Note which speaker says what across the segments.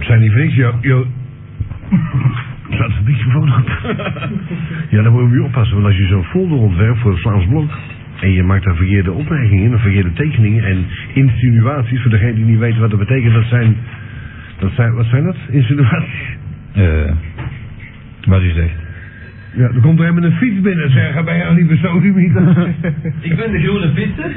Speaker 1: zijn niet voor niks. Jou, jou... Laat het microfoon op. ja, dan moet je weer oppassen. Want als je zo'n folder ontwerpt voor het Vlaams Blok... en je maakt daar verkeerde opmerkingen en verkeerde tekeningen... en insinuaties, voor degenen die niet weten wat dat betekent... dat zijn... Dat zijn wat zijn dat? Insinuaties?
Speaker 2: Eh, wat u zegt.
Speaker 1: Ja, er komt er helemaal een fiets binnen zeggen bij jou, lieve sodemieter.
Speaker 3: Ik ben de groene visser.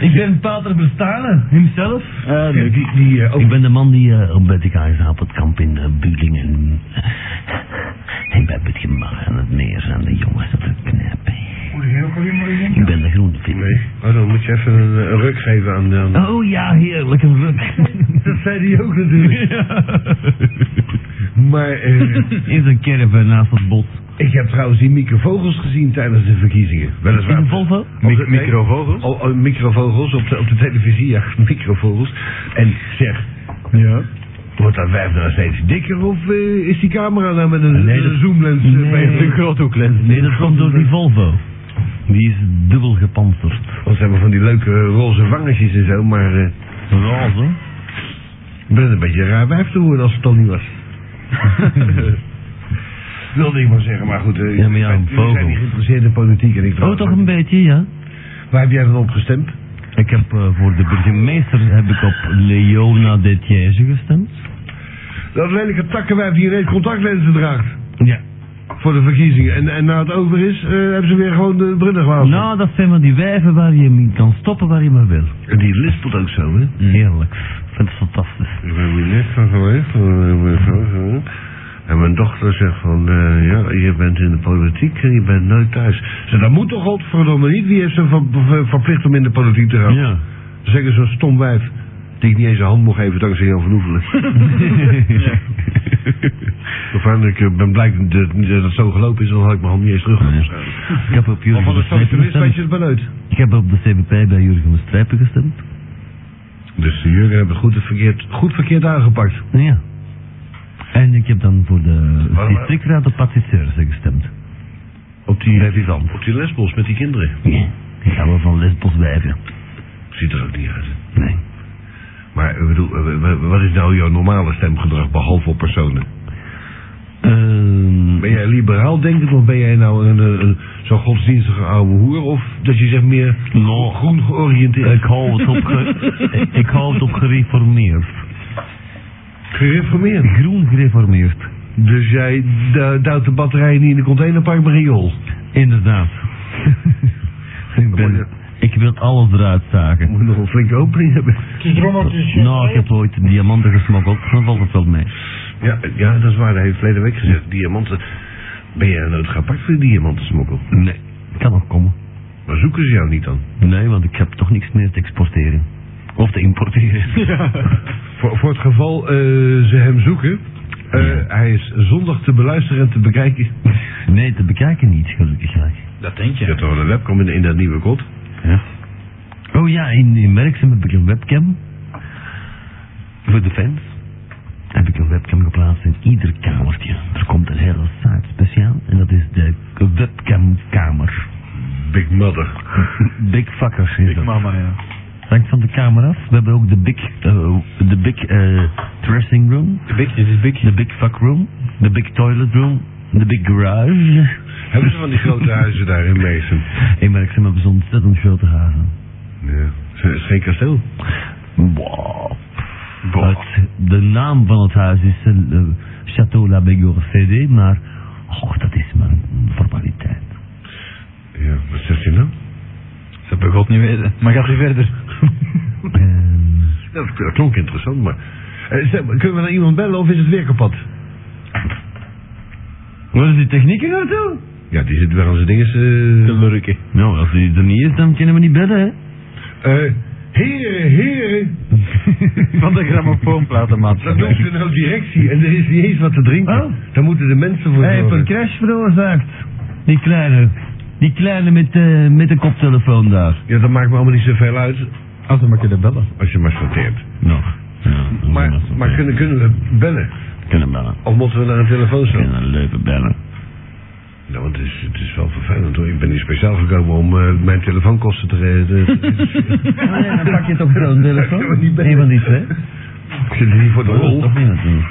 Speaker 3: Ik ben Pater Bestane, himself.
Speaker 4: Eh,
Speaker 1: die,
Speaker 4: leuk.
Speaker 1: die, eh, ook-
Speaker 4: Ik ben de man die eh, op het aardappelkamp in uh, Bulingen. Ik ben het gemach aan het meer en de jongens op het knappen. Ik ben de groenvis.
Speaker 1: Nee, oh, dan moet je even een, eh, een ruk geven aan... aan...
Speaker 4: Oh ja, heerlijk, een ruk.
Speaker 1: Dat zei hij ook natuurlijk. Maar eh,
Speaker 2: In zijn caravan naast het bot.
Speaker 1: ik heb trouwens die microvogels gezien tijdens de verkiezingen. Weliswaar.
Speaker 4: In de Volvo?
Speaker 1: Op de- nee,
Speaker 2: microvogels?
Speaker 1: Oh, oh, microvogels op de, op de televisie, ja, microvogels. En zeg,
Speaker 2: Ja.
Speaker 1: wordt dat wijf nou steeds dikker of eh, is die camera nou met een, een zoomlens eh, bezig?
Speaker 2: grote lens.
Speaker 4: Nee, dat komt door die Volvo. Die is dubbel gepantserd.
Speaker 1: Want ze hebben van die leuke eh, roze wangetjes en zo, maar eh,
Speaker 4: Roze?
Speaker 1: ik ben een beetje een raar wijf te worden als het al niet was. Wilde ik maar zeggen, maar goed. eh,
Speaker 4: Ja, maar ja, een
Speaker 1: jullie zijn
Speaker 4: vogel.
Speaker 1: niet geïnteresseerd in politiek en ik
Speaker 4: Oh, toch een beetje, ja.
Speaker 1: Waar heb jij dan op gestemd?
Speaker 4: Ik heb eh, voor de burgemeester heb ik op Leona de Thiège gestemd.
Speaker 1: Dat lelijke takkenwijf die ineens contactlenzen draagt.
Speaker 4: Ja.
Speaker 1: Voor de verkiezingen. En, en na het over is, eh, hebben ze weer gewoon de brunnen gehaald.
Speaker 4: Nou, dat zijn maar die wijven waar je mee kan stoppen waar je maar wil.
Speaker 1: En die lispelt ook zo, hè?
Speaker 4: Heerlijk. Ik vind het fantastisch.
Speaker 1: Ik ben minister geweest. En mijn dochter zegt van, eh, ja, je bent in de politiek en je bent nooit thuis. Ze, dat moet toch godverdomme niet? Wie heeft ze ver- ver- verplicht om in de politiek te gaan?
Speaker 4: Ja.
Speaker 1: Zeggen zo'n stom wijf. Die ik niet eens een hand mocht geven dankzij Jan van Oefelen. Of aan, ik eh, ben blij dat, dat het zo gelopen is, dan had ik mijn hand niet eens terug.
Speaker 4: Ik heb op
Speaker 1: Maar
Speaker 4: Jurgen
Speaker 1: van de
Speaker 4: van Strijpen
Speaker 1: socialist weet
Speaker 4: gestemd.
Speaker 1: je het maar uit.
Speaker 4: Ik heb op de CBP bij Jurgen van Strijpen gestemd.
Speaker 1: Dus de Jurgen hebben het goed en verkeerd, goed verkeerd aangepakt.
Speaker 4: Nou Ja. En ik heb dan voor de
Speaker 1: Waarom-
Speaker 4: districtraad op Patisseurs gestemd.
Speaker 1: Op die,
Speaker 4: Revivant.
Speaker 1: op die lesbos met die kinderen.
Speaker 4: Ja. Ik ga wel van Lesbos wijven.
Speaker 1: Ziet er ook niet uit.
Speaker 4: Nee.
Speaker 1: Maar ik bedoel, eh, wa- wa- wat is nou jouw normale stemgedrag behalve op personen?
Speaker 4: Ehm,
Speaker 1: Ben jij liberaal denkend of ben jij nou een, eh, een, zo'n godsdienstige oude hoer? Of dat je zegt meer
Speaker 4: Nou.
Speaker 1: groen georiënteerd?
Speaker 4: ik hou het op, ge- ik- ik hou het op gereformeerd.
Speaker 1: Gereformeerd.
Speaker 4: Groen gereformeerd.
Speaker 1: Dus jij du- duwt de batterijen niet in de containerpark maar in je hol?
Speaker 4: Inderdaad. ik, ben, ik wil alles eruit zagen.
Speaker 1: Moet je nog een flinke opening hebben.
Speaker 4: Nou, ik heb ooit diamanten gesmokkeld, dan valt het wel mee.
Speaker 1: Ja, ja dat is waar. Hij heeft verleden week gezegd. Diamanten. Ben jij nooit gepakt voor die diamantensmokkel?
Speaker 4: Nee. Kan nog komen.
Speaker 1: Maar zoeken ze jou niet dan?
Speaker 4: Nee, want ik heb toch niks meer te exporteren. Of te importeren.
Speaker 1: Voor, voor het geval eh, ze hem zoeken. eh, Hij is zondag te beluisteren en te bekijken.
Speaker 4: Nee, te bekijken niet, gelukkig. wel.
Speaker 2: Dat denk
Speaker 1: Je hebt toch wel een webcam in, in dat nieuwe kot?
Speaker 4: Oh ja, in, in Merksem heb ik een webcam. Voor de fans. Heb ik een webcam geplaatst in ieder kamertje. Er komt een hele site speciaal en dat is de webcamkamer.
Speaker 1: Big Mother.
Speaker 4: Big fuckers is dat.
Speaker 2: Mama, ja.
Speaker 4: Hangt van de camera af. We hebben ook de big, eh, de big eh, dressing room.
Speaker 2: De big, dit is big.
Speaker 4: The big fuck room, the big toilet room, the big garage.
Speaker 1: Hebben ze van die grote huizen daar in Mason?
Speaker 4: Ik merk ze hebben zo'n ontzettend grote haven.
Speaker 1: Ja. Ze- Het is geen kasteel.
Speaker 4: Wow. Het- de naam van het huis is eh, le- Château La Bigorre CD, maar oh, dat is maar een formaliteit.
Speaker 1: Ja, wat zeg je nou?
Speaker 2: Dat heb ik God niet weten. Maar gaat u verder.
Speaker 4: Ehm,
Speaker 1: Dat, Nou, dat klonk interessant, maar... Eh, zeg, maar, kunnen we naar iemand bellen of is het weer kapot?
Speaker 2: Wat is die techniek nou toe?
Speaker 1: Ja, die zit weer aan zijn dinges...
Speaker 2: De
Speaker 1: eh
Speaker 2: lurken.
Speaker 4: nou, als die er niet is, dan kunnen we niet bellen, hè.
Speaker 1: eh, heren, heren,
Speaker 2: Van de grammofoonplatenmaat.
Speaker 1: dat noemt ze nou directie en er is niet eens wat te drinken.
Speaker 2: Oh.
Speaker 1: Daar moeten de mensen voor
Speaker 2: Hij heeft een
Speaker 1: zorgen.
Speaker 2: crash veroorzaakt.
Speaker 4: Die kleine, die kleine met, eh, met de koptelefoon daar.
Speaker 1: Ja, dat maakt me allemaal niet zoveel uit
Speaker 2: Als dan maar kunnen bellen.
Speaker 1: als je maar sorteert.
Speaker 4: Nog. Ja,
Speaker 1: Maar,
Speaker 4: zo.
Speaker 1: maar kunnen, kunnen we bellen?
Speaker 4: kunnen bellen.
Speaker 1: Of moeten we naar een telefoon staan?
Speaker 4: Kunnen leuke bellen.
Speaker 1: Nou, want het is, het is wel vervelend hoor. Ik ben hier speciaal gekomen om eh, mijn telefoonkosten te redden.
Speaker 4: dan pak je het op zo'n telefoon.
Speaker 1: Kunnen we niet bellen?
Speaker 4: Een van die twee.
Speaker 1: Zit er niet voor de rol?
Speaker 4: toch niet natuurlijk.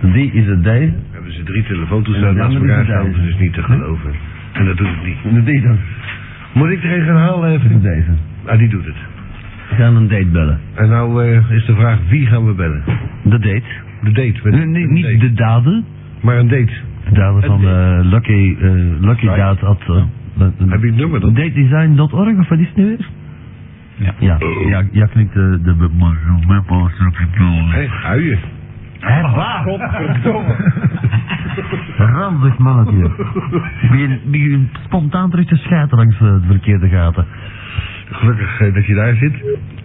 Speaker 4: Die is het die.
Speaker 1: Hebben ze drie telefoontoestellen
Speaker 4: En de
Speaker 1: naast
Speaker 4: andere
Speaker 1: elkaar
Speaker 4: is
Speaker 1: staan,
Speaker 4: deze.
Speaker 1: dat is niet te geloven. En dat doet het niet.
Speaker 4: En die dan.
Speaker 1: Moet ik er een gaan halen even?
Speaker 4: Even deze.
Speaker 1: Ah, die doet het.
Speaker 4: We gaan een date bellen.
Speaker 1: En nou eh, is de vraag, wie gaan we bellen?
Speaker 4: De date.
Speaker 1: De date. met-
Speaker 4: Nee, nee,
Speaker 1: een
Speaker 4: niet
Speaker 1: date.
Speaker 4: de daden.
Speaker 1: Maar een date.
Speaker 4: De daden van eh, Lucky, eh Lucky
Speaker 1: Right.
Speaker 4: Daad. At, eh, wat-
Speaker 1: Heb je het nummer dan?
Speaker 4: Datedesign.org of wat is het nu weer?
Speaker 2: Ja.
Speaker 4: Ja,
Speaker 1: Oh.
Speaker 4: ja, ja klinkt de... de
Speaker 1: Hé, uien.
Speaker 4: Hé,
Speaker 1: Ah, Godverdomme.
Speaker 4: Ranzig mannetje. Begin, begin spontaan terug te schijten langs eh, de verkeerde gaten.
Speaker 1: Gelukkig eh, dat je daar zit.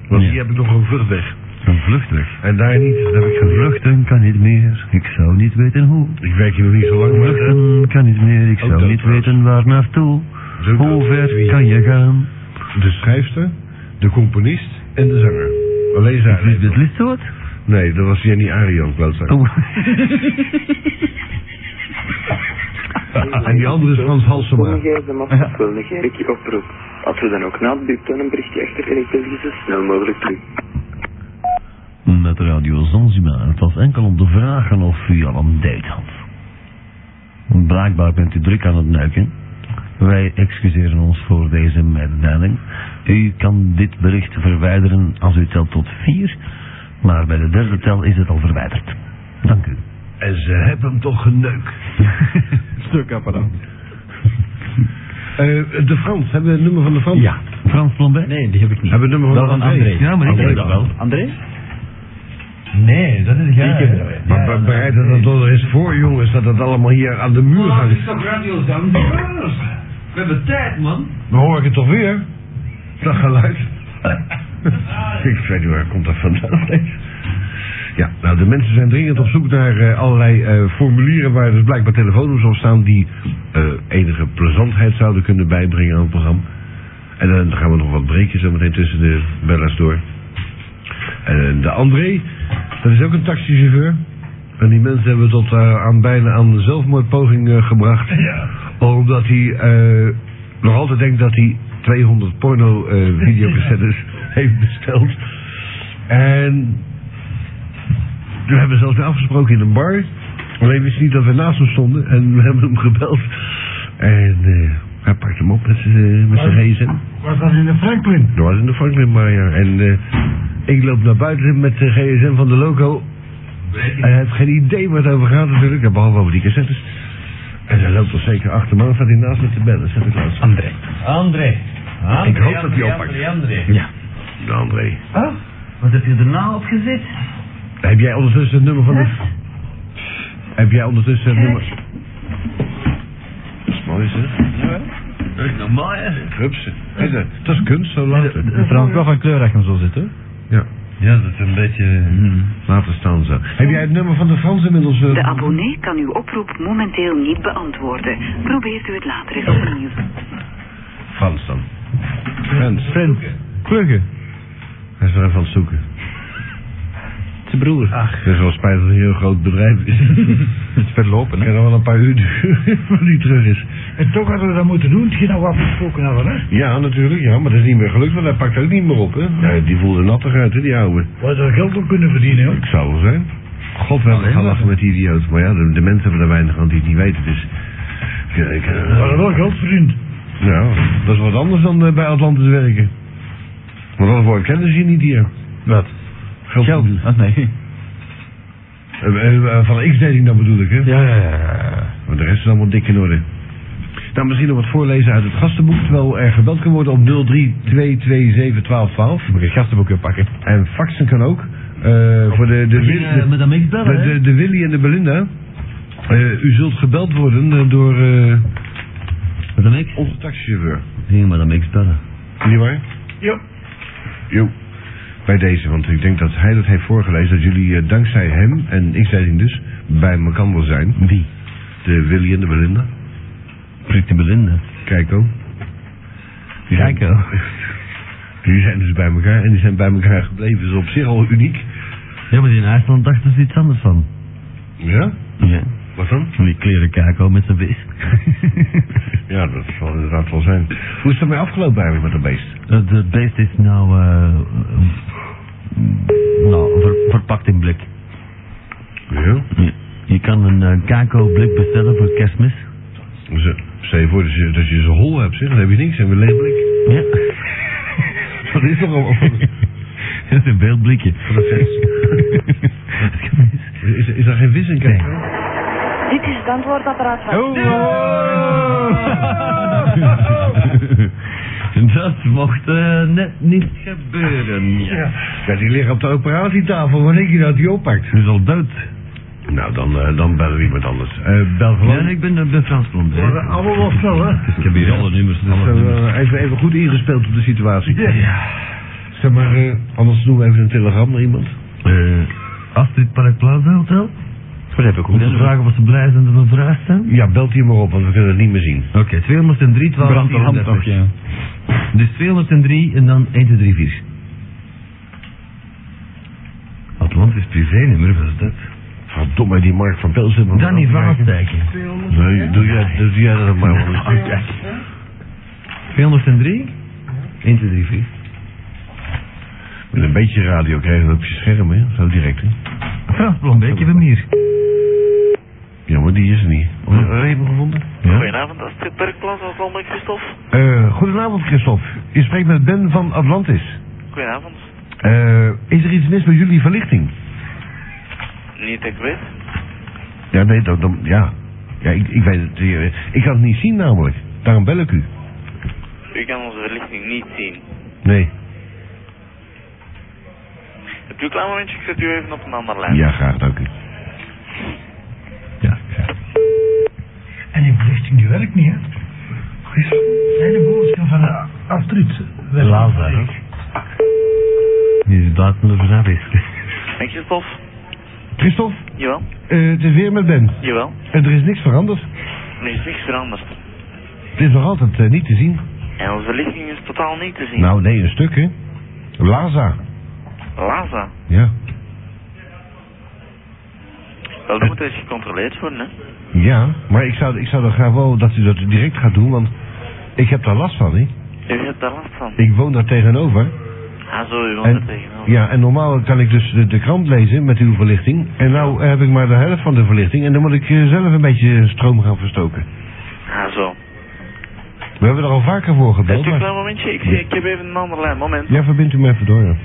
Speaker 1: Want
Speaker 4: Ja.
Speaker 1: hier heb ik nog een vluchtweg.
Speaker 4: Een vluchtweg.
Speaker 1: En daar niet, daar heb ik geen vlucht.
Speaker 4: Vluchten kan niet meer, ik zou niet weten hoe.
Speaker 1: Ik werk hier nog niet zo lang, maar... eh,
Speaker 4: Vluchten kan niet meer, ik
Speaker 1: Ook
Speaker 4: zou
Speaker 1: dat
Speaker 4: niet
Speaker 1: trouwens.
Speaker 4: weten waar naartoe.
Speaker 1: zo
Speaker 4: Hoe ver kan je gaan?
Speaker 1: De schrijfster, de componist en de zanger. Alleen zij.
Speaker 4: Is dit list wat?
Speaker 1: Nee, dat was Jenny Arian, klootzak.
Speaker 4: Oh.
Speaker 1: En die andere is Frans Halsema.
Speaker 5: Geef de map op wil negeren ik je oproep. Als we dan ook na het bieptoon een berichtje achter en ik wil je zo snel mogelijk terug.
Speaker 4: Met Radio Zanzibar, het was enkel om te vragen of u al een date had. Blijkbaar bent u druk aan het neuken. Wij excuseren ons voor deze mededeling. U kan dit bericht verwijderen als u telt tot vier, maar bij de derde tel is het al verwijderd. Dank u.
Speaker 1: En ze hebben hem toch geneukt.
Speaker 2: Stuk apparaat.
Speaker 1: Eh, de Frans, hebben we het nummer van de Frans?
Speaker 2: Ja.
Speaker 4: Frans Plombert?
Speaker 3: Nee, die heb ik niet.
Speaker 1: Hebben we het nummer van,
Speaker 2: van
Speaker 1: André?
Speaker 2: André.
Speaker 4: Ja, maar ik
Speaker 2: André
Speaker 4: heb dat wel.
Speaker 3: André? Nee, dat is jij. Ik heb dat
Speaker 1: Maar be- bereid dat dat er is voor, jongens, dat dat allemaal hier aan de muur
Speaker 3: is
Speaker 1: hangt.
Speaker 3: toch Radio Zanzibar? We hebben tijd, man.
Speaker 1: Dan hoor ik het toch weer? Dat geluid. ik weet niet waar komt dat vandaan. Ja, nou de mensen zijn dringend op zoek naar eh, allerlei eh, formulieren waar dus blijkbaar telefoonnummers op staan die eh, enige plezantheid zouden kunnen bijbrengen aan het programma. En dan gaan we nog wat breekjes zo meteen tussen de bellers door. En eh, de André, dat is ook een taxichauffeur. En die mensen hebben tot eh, aan bijna aan de zelfmoordpoging eh, gebracht. Omdat hij eh, nog altijd denkt dat hij 200 porno eh videocassettes heeft besteld. En we hebben zelfs weer afgesproken in een bar. Alleen wist hij niet dat we naast hem stonden. En we hebben hem gebeld. En eh, hij pakt hem op met zijn eh, met zijn gsm.
Speaker 2: Was dat in de Franklin?
Speaker 1: Dat was in de Franklin maar ja. En eh, ik loop naar buiten met de gsm van de loco. En hij heeft geen idee waar het over gaat natuurlijk. ja, Behalve over die cassettes. En hij loopt al zeker achter me aan. Staat hij naast me te bellen. Zet ik langs. André.
Speaker 3: André.
Speaker 1: Ik hoop dat hij
Speaker 3: André,
Speaker 1: oppakt.
Speaker 3: André, André.
Speaker 1: De André.
Speaker 4: Wat heb je er nou op gezet?
Speaker 1: Heb jij ondertussen het nummer van de... Heb jij ondertussen het nummer... Dat is mooi zeg.
Speaker 4: Dat is normaal, hè?
Speaker 1: Hupsen. Is dat? Dat is kunst zo later.
Speaker 2: Trouwens wel van kleur dat je hem zo zit, hè? Hmm.
Speaker 1: Ja.
Speaker 4: Ja, dat is een beetje...
Speaker 1: Laten staan zo. Heb jij het nummer van de Frans inmiddels? eh,
Speaker 6: De abonnee kan uw oproep momenteel niet beantwoorden. Probeert u het later eens opnieuw.
Speaker 1: Frans dan. Frans.
Speaker 2: Friend. Pluggen.
Speaker 1: Hij is er even aan het zoeken.
Speaker 2: Zijn broer.
Speaker 1: Ach. Het is wel spijt dat het een heel groot bedrijf is.
Speaker 2: Het is verlopen,
Speaker 1: Het kan
Speaker 2: hè?
Speaker 1: nog wel een paar uur duren voordat hij terug is.
Speaker 2: En toch hadden we dat moeten doen, hetgeen nou afgesproken hadden, hè?
Speaker 1: Ja, natuurlijk, ja, maar dat is niet meer gelukt, want hij pakt ook niet meer op, hè? Ja, die voelde nattig uit, hè, die ouwe.
Speaker 2: We hadden er geld op kunnen verdienen,
Speaker 1: Ik zou wel zijn. God, we hebben
Speaker 2: Alleen
Speaker 1: gaan
Speaker 2: maar.
Speaker 1: lachen met die idioot. Maar ja, de, de mensen hebben er weinig aan die het niet weten, dus... Ja, ik, eh,
Speaker 2: wel geld verdiend.
Speaker 1: nou, dat is wat anders dan eh, bij Atlantis werken. Want dat woord kennen ze hier niet hier.
Speaker 2: Wat?
Speaker 1: Geld.
Speaker 2: Ah, nee.
Speaker 1: Eh, eh, eh, van X-dating dan bedoel ik, hè?
Speaker 2: Ja, ja, ja.
Speaker 1: Maar de rest is allemaal dik in orde. Nou, misschien nog wat voorlezen uit het gastenboek, terwijl er gebeld kan worden op 03-227-1212.
Speaker 2: Moet ik het gastenboekje pakken?
Speaker 1: En faxen kan ook. Eh, voor de, de, Wil- de,
Speaker 4: met hem ik bellen,
Speaker 1: de,
Speaker 4: hè?
Speaker 1: de, de Willy en de Belinda. Eh, u zult gebeld worden eh, door eh,
Speaker 4: Met hem ik?
Speaker 1: onze taxichauffeur.
Speaker 4: Nee, met hem ik bellen.
Speaker 1: Niet waar?
Speaker 2: Ja.
Speaker 1: Jo. Bij deze, want ik denk dat hij dat heeft voorgelezen, dat jullie eh, dankzij hem en ik zei het dus bij elkaar zijn.
Speaker 4: Wie?
Speaker 1: De Willy en de Belinda.
Speaker 4: Prik de Belinda.
Speaker 1: Kijk ook. Die zijn-
Speaker 4: Kijken.
Speaker 1: Die zijn dus bij elkaar en die zijn bij elkaar gebleven. Dat is op zich al uniek.
Speaker 4: Ja, maar in IJsland dachten ze iets anders van.
Speaker 1: Ja?
Speaker 4: Ja.
Speaker 1: Wat dan?
Speaker 4: Van die kleren kako met zijn vis.
Speaker 1: Ja, dat zal inderdaad wel zijn. Hoe is dat mee afgelopen eigenlijk met dat beest?
Speaker 4: Het beest is nou, eh, eh, nou ver, verpakt in blik.
Speaker 1: Ja.
Speaker 4: Je, je kan een eh, kakao-blik bestellen voor kerstmis.
Speaker 1: Ze, stel je voor dat je, dat je ze hol hebt, zeg. Dan heb je niks en we leeg blik.
Speaker 4: Ja,
Speaker 1: Dat is toch allemaal van
Speaker 4: dat is een beeldblikje.
Speaker 1: de vis. Is, is daar geen vis in, kijk?
Speaker 7: Dit is het antwoordapparaat van...
Speaker 4: Dat mocht eh, net niet gebeuren. Ja.
Speaker 1: Ja, die liggen op de operatietafel. Wanneer je dat die oppakt?
Speaker 4: Hij is al dood.
Speaker 1: Nou, dan, eh, dan bellen we iemand anders. Eh bel
Speaker 4: Ja,
Speaker 1: gewoon.
Speaker 4: ik ben, eh, ben Frans Blond. hè.
Speaker 1: Maar allemaal wel snel, hè?
Speaker 4: Ik heb hier alle nummers.
Speaker 1: Dus,
Speaker 4: Alle
Speaker 1: eh,
Speaker 4: nummers.
Speaker 1: even, even goed ingespeeld op de situatie. Zeg maar, eh, anders doen we even een telegram naar iemand.
Speaker 4: Eh, Astrid Park Plaza Hotel.
Speaker 1: Dat heb ik
Speaker 4: Moet je vragen of ze blij zijn dat we vooruit staan?
Speaker 1: Ja, belt hier maar op, want we kunnen het niet meer zien.
Speaker 4: Oké, 203, 12,
Speaker 2: Brandt de hand nog, ja.
Speaker 4: Dus 203 en dan 1234. Atlantis privé-nummer, wat is dat?
Speaker 1: Verdomme, die Mark van Pels heeft me
Speaker 4: Danny
Speaker 1: maar afgekeken.
Speaker 4: Valentijken.
Speaker 1: Nee, doe jij, doe jij dat maar. want-
Speaker 4: 203? 1234.
Speaker 1: Met een beetje radio krijgen we op je scherm, hè? Zo direct, hè?
Speaker 4: Frans Blombeek, je bent hier.
Speaker 1: Ja, maar die is er niet. Heb je hem gevonden?
Speaker 5: Goedenavond, Astrid Bergplaats, als London Christophe.
Speaker 1: Eh, goedenavond, Christophe. Je spreekt met Ben van Atlantis.
Speaker 5: Goedenavond.
Speaker 1: Eh, is er iets mis met jullie verlichting?
Speaker 5: Niet dat ik weet.
Speaker 1: Ja, nee, dat, dan, ja. Ja, ik, ik weet het. eh, Ik kan het niet zien, namelijk. Daarom bel ik u.
Speaker 5: U kan onze verlichting niet zien.
Speaker 1: Nee.
Speaker 5: Heb u een klein momentje? Ik zet u even op een ander lijn.
Speaker 1: Ja, graag, dank u.
Speaker 2: Ja, ja.
Speaker 3: En die verlichting die werkt niet, hè? Nee, de boodschap van de Astrid.
Speaker 4: Laza, hè? Die is buiten de verzaving.
Speaker 5: En Christophe?
Speaker 1: Christophe,
Speaker 5: Jawel.
Speaker 1: eh, het is weer met Ben.
Speaker 5: Jawel.
Speaker 1: En er is niks veranderd.
Speaker 5: Er is niks veranderd.
Speaker 1: Het is nog altijd eh, niet te zien.
Speaker 5: En onze verlichting is totaal niet te zien.
Speaker 1: Nou, nee, een stuk, hè. Laza.
Speaker 5: Laza.
Speaker 1: Ja.
Speaker 5: Wel, dan moet eens gecontroleerd worden, hè.
Speaker 1: Ja, maar ik zou, ik zou dan graag wel dat u dat direct gaat doen, want ik heb daar last van, hè.
Speaker 5: U hebt daar last van.
Speaker 1: Ik woon daar tegenover.
Speaker 5: Ah, zo, u woont er
Speaker 1: En,
Speaker 5: tegenover.
Speaker 1: ja, en normaal kan ik dus de, de krant lezen met uw verlichting. En nou heb ik maar de helft van de verlichting en dan moet ik eh, zelf een beetje stroom gaan verstoken.
Speaker 5: Ah, zo.
Speaker 1: We hebben er al vaker voor
Speaker 5: Heeft
Speaker 1: gebeld,
Speaker 5: u een
Speaker 1: maar...
Speaker 5: klein momentje? Ik, ik heb even een ander lijn. Moment.
Speaker 1: Ja, verbindt u me even door, ja.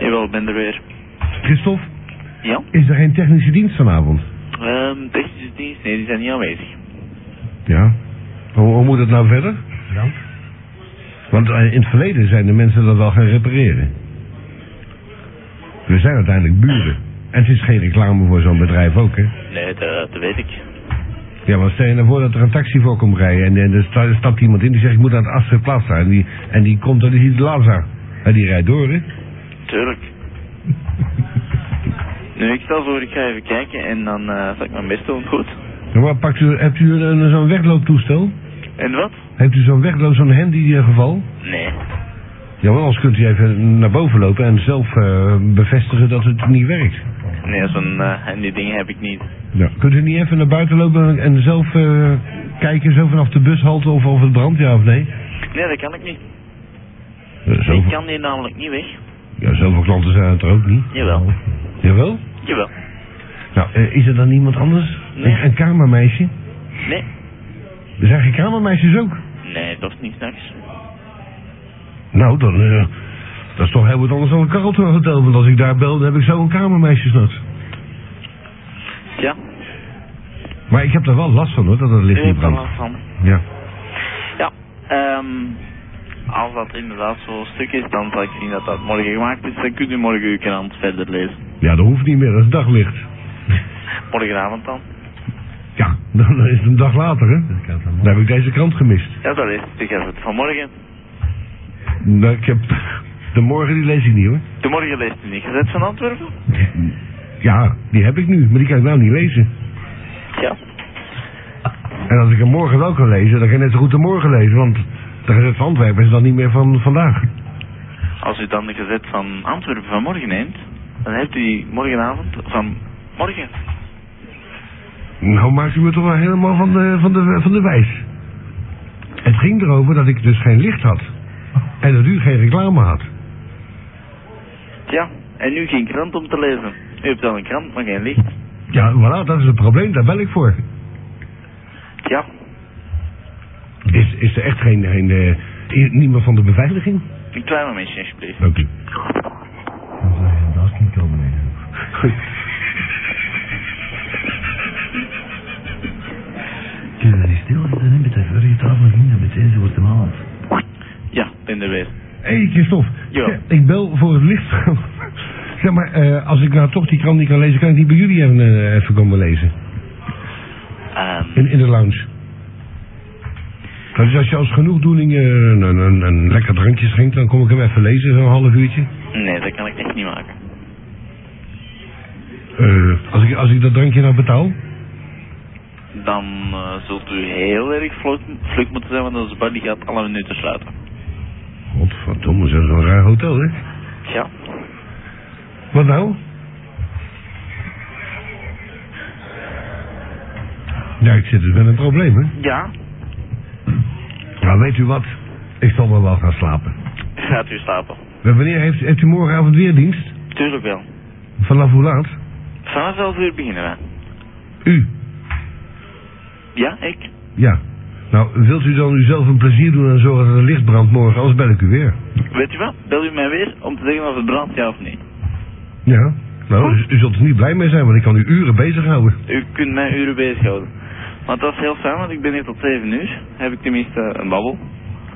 Speaker 5: Jawel, ik ben er weer.
Speaker 1: Christophe,
Speaker 5: Ja?
Speaker 1: is er geen technische dienst vanavond?
Speaker 5: Ehm, technische dienst? Nee, die zijn niet aanwezig.
Speaker 1: Ja. Hoe, hoe moet het nou verder? Want eh, in het verleden zijn de mensen dat wel gaan repareren. We zijn uiteindelijk buren. En het is geen reclame voor zo'n bedrijf ook, hè?
Speaker 5: Nee, dat, dat weet ik.
Speaker 1: Ja, maar stel je nou voor dat er een taxi voor komt rijden en, en er sta- stapt iemand in die zegt ik moet naar het Astre Plaza. En die, en die komt en die ziet Laza. En die rijdt door, hè?
Speaker 5: Tuurlijk. nu, ik stel voor, ik ga even kijken en dan eh, zal ik mijn best doen. Goed.
Speaker 1: Ja, maar pakt u, hebt u een- een- zo'n weglooptoestel?
Speaker 5: En wat?
Speaker 1: Heeft u zo'n wegloop, zo'n handy eh, geval?
Speaker 5: Nee.
Speaker 1: Ja, maar anders kunt u even naar boven lopen en zelf eh, bevestigen dat het niet werkt.
Speaker 5: Nee, zo'n eh, handy ding heb ik niet.
Speaker 1: Ja. Kunt u niet even naar buiten lopen en zelf eh, kijken zo vanaf de bushalte of, of het brandt, ja of nee?
Speaker 5: Nee, dat kan ik niet.
Speaker 1: Eh,
Speaker 5: Ik
Speaker 1: zoveel,
Speaker 5: kan die namelijk niet weg.
Speaker 1: ja, zoveel klanten zijn het er ook niet.
Speaker 5: Jawel.
Speaker 1: Jawel?
Speaker 5: Jawel.
Speaker 1: Nou, eh, is er dan iemand anders?
Speaker 5: Nee.
Speaker 1: Een, een kamermeisje?
Speaker 5: Nee.
Speaker 1: Er zijn geen kamermeisjes ook?
Speaker 5: Nee, dat is niet s'nachts.
Speaker 1: Nou, dan, eh, dat is toch heel wat anders dan een Carlton Hotel, want als ik daar bel, dan heb ik zo een kamermeisje s'nachts.
Speaker 5: Ja,
Speaker 1: Maar ik heb daar wel last van hoor, dat het licht
Speaker 5: u
Speaker 1: niet
Speaker 5: hebt er
Speaker 1: brandt.
Speaker 5: last van.
Speaker 1: Ja.
Speaker 5: Ja, ehm... Als dat inderdaad zo'n stuk is, dan zal ik zien dat dat morgen gemaakt is. Dan kunt u morgen uw krant verder lezen.
Speaker 1: Ja, dat hoeft niet meer, dat is daglicht.
Speaker 5: Morgenavond dan.
Speaker 1: Ja, dan is het een dag later hè. Dan heb ik deze krant gemist.
Speaker 5: Ja, dat is het. Ik heb het vanmorgen.
Speaker 1: Nou, ik heb... De morgen die lees ik niet hoor.
Speaker 5: De morgen leest u niet gezet van Antwerpen?
Speaker 1: Ja, die heb ik nu, maar die kan ik nou niet lezen.
Speaker 5: Ja.
Speaker 1: En als ik hem morgen wel kan lezen, dan kan ik net zo goed de morgen lezen, want de gezet van Antwerpen is dan niet meer van vandaag.
Speaker 5: Als u dan de gezet van Antwerpen vanmorgen neemt, dan hebt u die morgenavond van morgen.
Speaker 1: Nou maakt u me toch wel helemaal van de, van de, van de wijs. Het ging erover dat ik dus geen licht had. En dat u geen reclame had.
Speaker 5: Ja, en nu geen krant om te lezen. U hebt wel een krant, maar geen licht.
Speaker 1: Ja, voilà, dat is het probleem, daar bel ik voor.
Speaker 5: Ja,
Speaker 1: Is, is er echt geen, geen eh, i- niemand van de beveiliging?
Speaker 5: een klein momentje alsjeblieft.
Speaker 1: Dank u.
Speaker 4: Dan zou je daar niet komen. hè. Kun je daar niet stil zitten, hè? Met de vorige tafel ging dat meteen, ze wordt hem aan.
Speaker 5: Ja, ben er weer.
Speaker 1: Hé, hey, Christophe.
Speaker 5: Ja.
Speaker 1: Zeg, Ik bel voor het licht. zeg maar, eh, als ik nou toch die krant niet kan lezen, kan ik die bij jullie even, eh, even komen lezen.
Speaker 5: Ehm,
Speaker 1: In, in de lounge. Nou, Dus als je als genoegdoening eh, een, een, een, een lekker drankje schenkt, dan kom ik hem even lezen, zo'n half uurtje.
Speaker 5: nee, dat kan ik echt niet maken.
Speaker 1: Eh, als, ik, als ik dat drankje nou betaal?
Speaker 5: Dan eh, zult u heel erg vlug, vlug moeten zijn, want onze bar die gaat alle minuten sluiten.
Speaker 1: Godverdomme, zeg, dat is een raar hotel, hè?
Speaker 5: Ja.
Speaker 1: Wat nou? Ja, ik zit dus met een probleem, hè?
Speaker 5: Ja?
Speaker 1: Nou, weet u wat? Ik zal wel wel gaan slapen.
Speaker 5: Gaat u slapen?
Speaker 1: Maar Wanneer heeft, heeft u morgenavond weer dienst?
Speaker 5: Tuurlijk wel.
Speaker 1: Vanaf hoe laat?
Speaker 5: Vanaf 11 uur beginnen wij.
Speaker 1: U.
Speaker 5: Ja, ik?
Speaker 1: Ja. Nou, wilt u dan uzelf een plezier doen en zorgen dat er licht brandt morgen, anders bel ik u weer.
Speaker 5: Weet u wat? Bel u mij weer om te zeggen of het brandt, ja of nee.
Speaker 1: Ja. Nou, u, u zult er niet blij mee zijn, want ik kan u uren bezighouden.
Speaker 5: U kunt mij uren bezighouden. Maar dat is heel fijn, want ik ben hier tot 7 uur. Heb ik tenminste een babbel.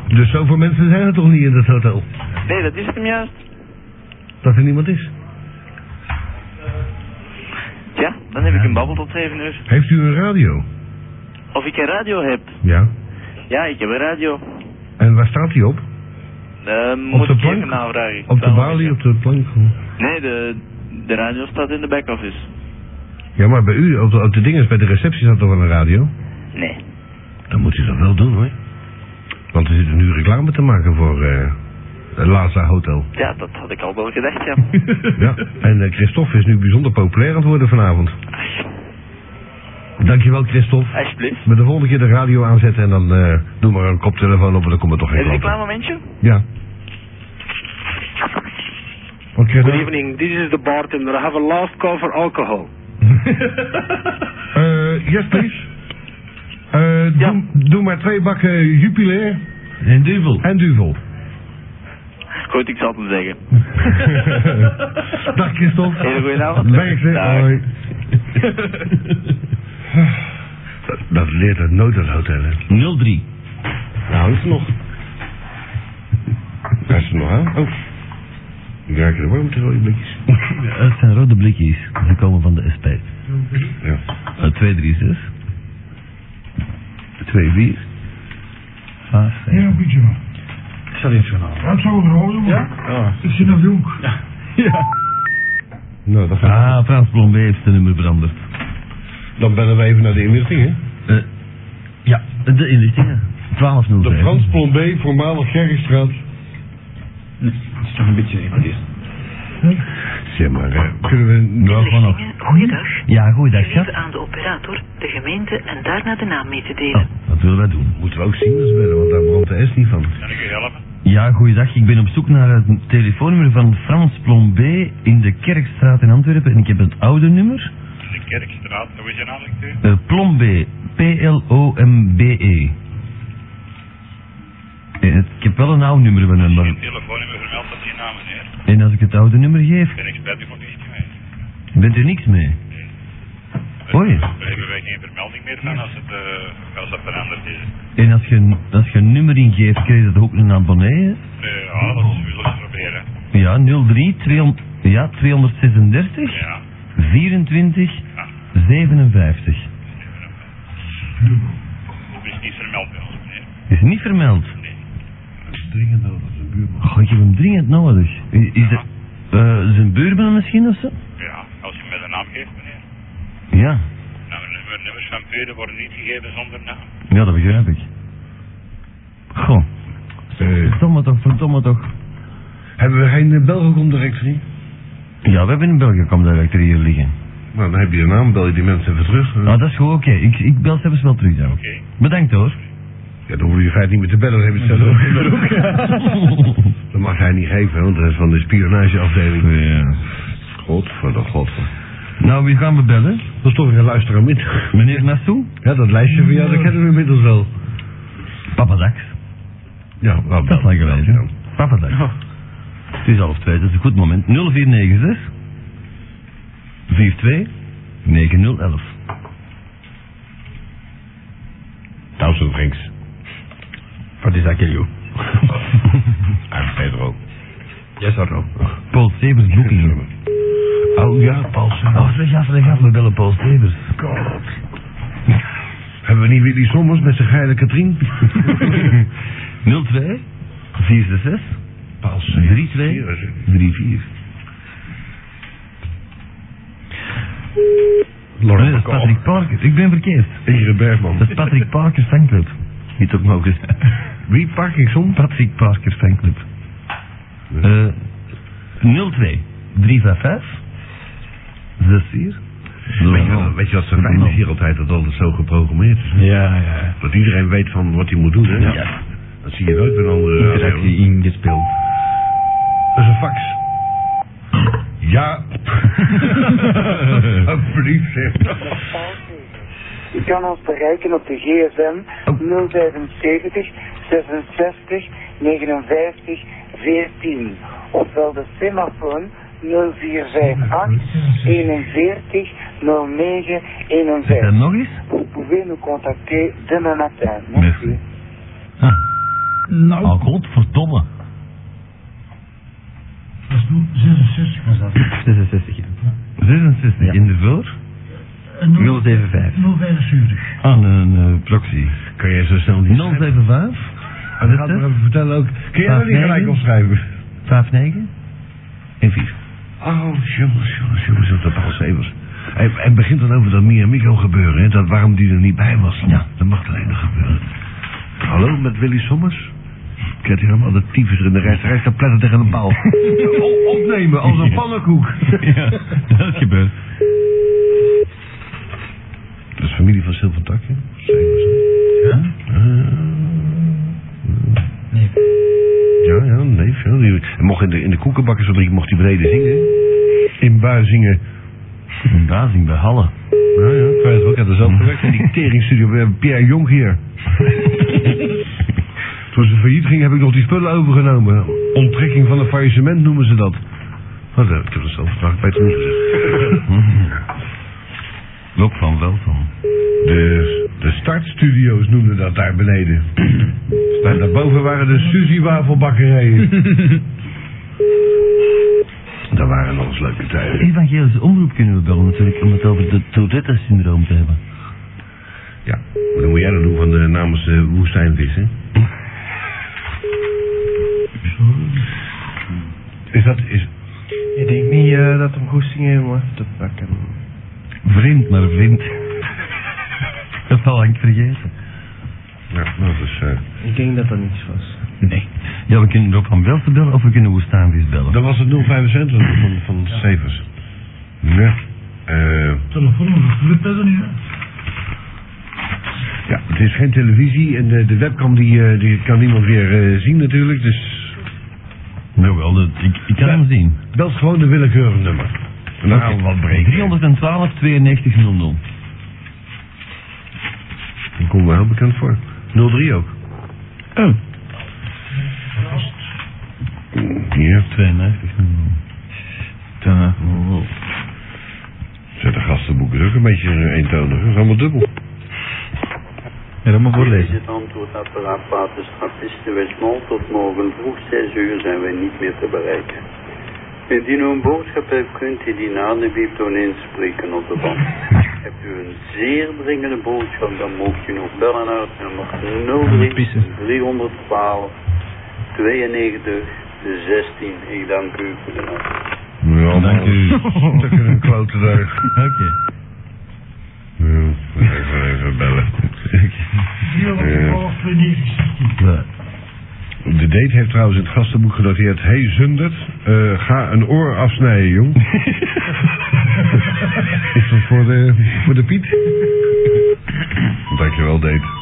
Speaker 1: Dus zoveel mensen zijn er toch niet in dat hotel?
Speaker 5: Nee, dat is hem juist.
Speaker 1: Dat er niemand is.
Speaker 5: Ja, dan heb ik een babbel tot 7 uur.
Speaker 1: Heeft u een radio?
Speaker 5: Of ik een radio heb.
Speaker 1: Ja.
Speaker 5: Ja, ik heb een radio.
Speaker 1: En waar staat die op?
Speaker 5: Eh, moet
Speaker 1: de
Speaker 5: ik
Speaker 1: plank?
Speaker 5: even navragen.
Speaker 1: Op de
Speaker 5: Dan-
Speaker 1: balie, op de plank?
Speaker 5: Nee, de, de radio staat in de back-office.
Speaker 1: Ja, maar bij u, op de, op de dinges, bij de receptie staat toch wel een radio?
Speaker 5: Nee.
Speaker 1: Dan moet u dat wel doen, hoor. Want er zit nu reclame te maken voor eh het Laza Hotel.
Speaker 5: Ja, dat had ik al wel gedacht, ja.
Speaker 1: ja, en eh, Christophe is nu bijzonder populair aan het worden vanavond. Dankjewel, Christophe.
Speaker 5: Alsjeblieft.
Speaker 1: Met de volgende keer de radio aanzetten en dan eh doe maar een koptelefoon op en dan komt er toch geen
Speaker 5: Even een
Speaker 1: klant.
Speaker 5: klein momentje.
Speaker 1: Ja. Wat krijg je
Speaker 8: Good
Speaker 1: nou?
Speaker 8: evening, this is the bartender. I have a last call for alcohol.
Speaker 1: Eh, yes, please. Eh,
Speaker 8: Ja.
Speaker 1: doe, doe maar twee bakken Jupiler
Speaker 4: En duivel.
Speaker 1: en Duvel.
Speaker 5: Goed, ik zal het hem zeggen.
Speaker 1: Dag Christophe.
Speaker 5: Hele goeie avond.
Speaker 1: Dag. zeg.
Speaker 5: Dag.
Speaker 1: Hoi. dat, dat leert het nooit dat hotel. Hè.
Speaker 4: 03.
Speaker 1: Nou, hangt er nog. Hij is er nog aan. Oh. Ik raak er warm tussen al die blikjes.
Speaker 4: Het zijn rode blikjes. Ze komen van de SP.
Speaker 1: Ja.
Speaker 4: Eh, 236.
Speaker 1: 2-4.
Speaker 4: 5,
Speaker 3: Ja, een beetje man.
Speaker 2: Ik zal iets gaan halen.
Speaker 3: Wat zou er houden, man?
Speaker 2: Ja.
Speaker 3: Ik zit nog jong.
Speaker 1: Nou, dan, gaan
Speaker 4: Ah, Frans Blombe heeft zijn nummer veranderd.
Speaker 1: we. dan bellen we even naar de inlichting, hè.
Speaker 4: Eh, ja, de inlichtingen. 12.05.
Speaker 1: De Frans Plombé, voormalig Gerristraat.
Speaker 2: Het is toch een beetje egoïst.
Speaker 1: Zeg maar, hè, kunnen we... Nou,
Speaker 4: gewoon op.
Speaker 6: Lichtingen, Goeiedag.
Speaker 4: Ja, goeiedag,
Speaker 6: Geef
Speaker 4: schat.
Speaker 6: aan de operator, de gemeente en daarna de naam mee te
Speaker 4: Oh,
Speaker 6: delen.
Speaker 4: wat willen wij doen?
Speaker 1: Moeten we ook Siemens bellen, want daar brandt de S niet van.
Speaker 4: Ja, goeiedag. Ik ben op zoek naar het telefoonnummer van Frans Plombé in de Kerkstraat in Antwerpen. En ik heb het oude nummer. De Kerkstraat, hoe is je naam? Uh, Plombé. P-L-O-M-B-E. Eh, E. het- Ik heb wel een oud nummer van hem. maar-
Speaker 9: telefoonnummer vermeld op die naam, meneer.
Speaker 4: En als ik het oude nummer geef,
Speaker 9: Ben ik spijtig van niet mee.
Speaker 4: bent u niks mee. Oei.
Speaker 9: Daar hebben Dus wij geen vermelding meer van als, het, eh, als dat veranderd is.
Speaker 4: En als je, als je een nummer ingeeft, krijg je dat ook een abonnee.
Speaker 9: Eh, ja, dat zullen we proberen.
Speaker 4: hè? Ja, 03 200, ja, 236
Speaker 9: Ja.
Speaker 4: 24 57.
Speaker 9: Het is niet vermeld bij ons, meneer.
Speaker 4: Is niet vermeld.
Speaker 1: Dringend nodig, de buurman.
Speaker 4: Goh, ik heb hem dringend nodig. I- Is dat eh, zijn buurman misschien of zo?
Speaker 9: Ja, als je mij de naam geeft, meneer.
Speaker 4: Ja.
Speaker 9: Nou, nummer, nummers van buren worden niet gegeven zonder naam.
Speaker 4: Ja, dat begrijp ik. Goh,
Speaker 1: Eh,
Speaker 4: verdomme toch, verdomme toch.
Speaker 1: hebben we geen eh, Belgicom directory?
Speaker 4: Ja, we hebben een Belgicom director hier liggen.
Speaker 1: Nou, dan heb je een naam, bel je die mensen even terug. hè.
Speaker 4: Nou, dat is goed, oké. Ik, ik bel ze even wel terug dan.
Speaker 9: Oké.
Speaker 4: Bedankt hoor.
Speaker 1: Ja, dan hoef je in feite niet meer te bellen, dan heb je het zelf ook. Dat mag hij niet geven, want dat is van de spionageafdeling.
Speaker 4: Ja.
Speaker 1: Godverdomme, godverdomme.
Speaker 4: Nou, wie gaan we bellen?
Speaker 1: Dat is toch weer een luisteraar met.
Speaker 4: Meneer Nassou?
Speaker 1: Ja, dat lijstje van jou, dat kennen we inmiddels wel.
Speaker 4: Papa Dax.
Speaker 1: Ja, nou,
Speaker 4: Dat lijkt wel eens, hè? Papa Dax.
Speaker 10: Ja.
Speaker 4: Het is half twee, dat is een goed moment. 0496 42 9011.
Speaker 1: Thousand thanks.
Speaker 10: Wat is dat, Kelly?
Speaker 1: En Ah, Pedro.
Speaker 10: Yes or no?
Speaker 4: Paul Stevens boeking.
Speaker 1: Oh ja, Paulsen.
Speaker 4: Oh, zeg af, zeg af, we bellen Paul Stevens.
Speaker 1: God. Hebben we niet Willy Sommers met zijn geile Katrien?
Speaker 4: 02 46
Speaker 1: Paulsen.
Speaker 4: 32 34. Nee, dat
Speaker 1: Laurent
Speaker 4: is Patrick Parker. Ik ben verkeerd.
Speaker 1: Ingrid Bergman.
Speaker 4: Dat is Patrick Parker fanclub. Niet ook mogen. Wie Parkinson? Patrick Parker fanclub. Eh 02 355 64
Speaker 10: Nou.
Speaker 1: Weet je, wat, weet je wat zo fijn is hier altijd, dat altijd zo geprogrammeerd is?
Speaker 10: Ja, ja.
Speaker 1: Dat iedereen weet van wat hij moet doen, hè?
Speaker 10: Ja.
Speaker 1: Dat zie je nooit bij een andere radio.
Speaker 10: Interactie ingespeeld.
Speaker 1: Dat is een fax. Ja. Alsjeblieft, zeg.
Speaker 2: U kan ons bereiken op de gsm 075 66 59 14. Ofwel de semafoon 0458 41 09
Speaker 4: Zeg dat
Speaker 2: 51.
Speaker 4: nog eens?
Speaker 2: Vous pouvez nous contacter demain matin. Merci.
Speaker 10: Ah.
Speaker 3: Nou,
Speaker 4: Oh, godverdomme.
Speaker 3: dat is nu 66 was dat.
Speaker 10: 66, ja.
Speaker 4: 66 in de voor?
Speaker 3: En nul-
Speaker 10: 075.
Speaker 3: 075.
Speaker 1: Ah,
Speaker 4: Aan een eh, proxy.
Speaker 1: Kan jij zo snel niet
Speaker 4: 075
Speaker 1: En dat gaat me even vertellen ook. Kun jij dat niet gelijk opschrijven?
Speaker 4: 59 en 4.
Speaker 1: Oh, jongens, jongens, jongens, dat Paul Severs. En, en begint dan over dat Mia Mikko gebeuren, hè? Dat waarom die er niet bij was.
Speaker 4: Ja.
Speaker 1: Dat mag alleen nog gebeuren. Hallo, met Willy Sommers? Ik heb hier allemaal de tyfus in de rest. Hij staat platter tegen een paal. O- Opnemen, als een pannenkoek.
Speaker 4: ja, dat gebeurt.
Speaker 1: Dat is familie van Silvertakje. Severs.
Speaker 10: Ja?
Speaker 1: Eh,
Speaker 10: Nee.
Speaker 1: Ja, ja, nee, veel. Die, hij mocht in de, in de koekenbakkersfabriek mocht hij beneden zingen. In Buizingen.
Speaker 4: Een bazing bij Halle.
Speaker 1: Ja, ja, ik weet het wel. Ik heb er zelf gewerkt in die teringstudio bij Pierre Jonk hier. Toen ze failliet ging, heb ik nog die spullen overgenomen. Onttrekking van een faillissement noemen ze dat. Wat, eh, ik heb dat zelf gevraagd bij toen gezegd.
Speaker 4: Lok van Welkom.
Speaker 1: De, de startstudio's noemden dat daar beneden. en daarboven waren de Suzy-wafelbakkerijen. dat waren nog eens leuke tijden.
Speaker 4: Evangelische omroep kunnen we bellen natuurlijk om het over het Tourette-syndroom te hebben.
Speaker 1: Ja, maar dan moet jij dat doen van de, namens eh, de woestijnvis, hè? Is dat... Is,
Speaker 10: Ik denk niet eh, dat hem goed zingen heeft te pakken.
Speaker 4: Vriend, maar vriend. Dat zal ik vergeten.
Speaker 1: ja, dat is... eh,
Speaker 10: Ik denk dat dat niets was.
Speaker 4: Nee. Ja, we kunnen Rob van Velsen bellen of we kunnen Woestaanvis bellen.
Speaker 1: dat was het 075 van, van Severs. Ja. Eh,
Speaker 3: Telefoon, dat lukt dat er niet. hè?
Speaker 1: ja, het is geen televisie en de, de webcam die, eh, die kan niemand weer eh, zien natuurlijk, dus...
Speaker 4: Jawel, Nou, dat, ik, ik kan hem zien.
Speaker 1: Bel gewoon de willekeurige nummer. En dan gaan we wat breken.
Speaker 4: 312 9200.
Speaker 1: Die komt me heel bekend voor. 03 ook.
Speaker 4: Oh.
Speaker 1: Hier,
Speaker 4: 9200.
Speaker 10: Dan,
Speaker 4: oh,
Speaker 1: zet de gastenboeken ook een beetje eentonig. Dat is allemaal dubbel.
Speaker 10: ja, dat moet voorlezen.
Speaker 2: het antwoordapparaat Waterstraatisten Westmol. Tot morgen vroeg 6 uur zijn wij niet meer te bereiken. Indien u een boodschap hebt, kunt u die na de bieptoon inspreken op de band. Hebt u een zeer dringende boodschap, dan mocht u nog bellen naar het nummer 03 312 92 16. Ik dank u voor de nacht.
Speaker 1: Ja,
Speaker 4: Dank u.
Speaker 1: Stukken een klote daar.
Speaker 4: Oké.
Speaker 1: Ja, even, even bellen.
Speaker 3: Hier op de
Speaker 1: Ja.
Speaker 3: golf 9216.
Speaker 4: Ja.
Speaker 1: De date heeft trouwens in het gastenboek gedateerd. Hey Zundert, eh, ga een oor afsnijden, jong. Is dat voor de, voor de Piet? Dankjewel, date.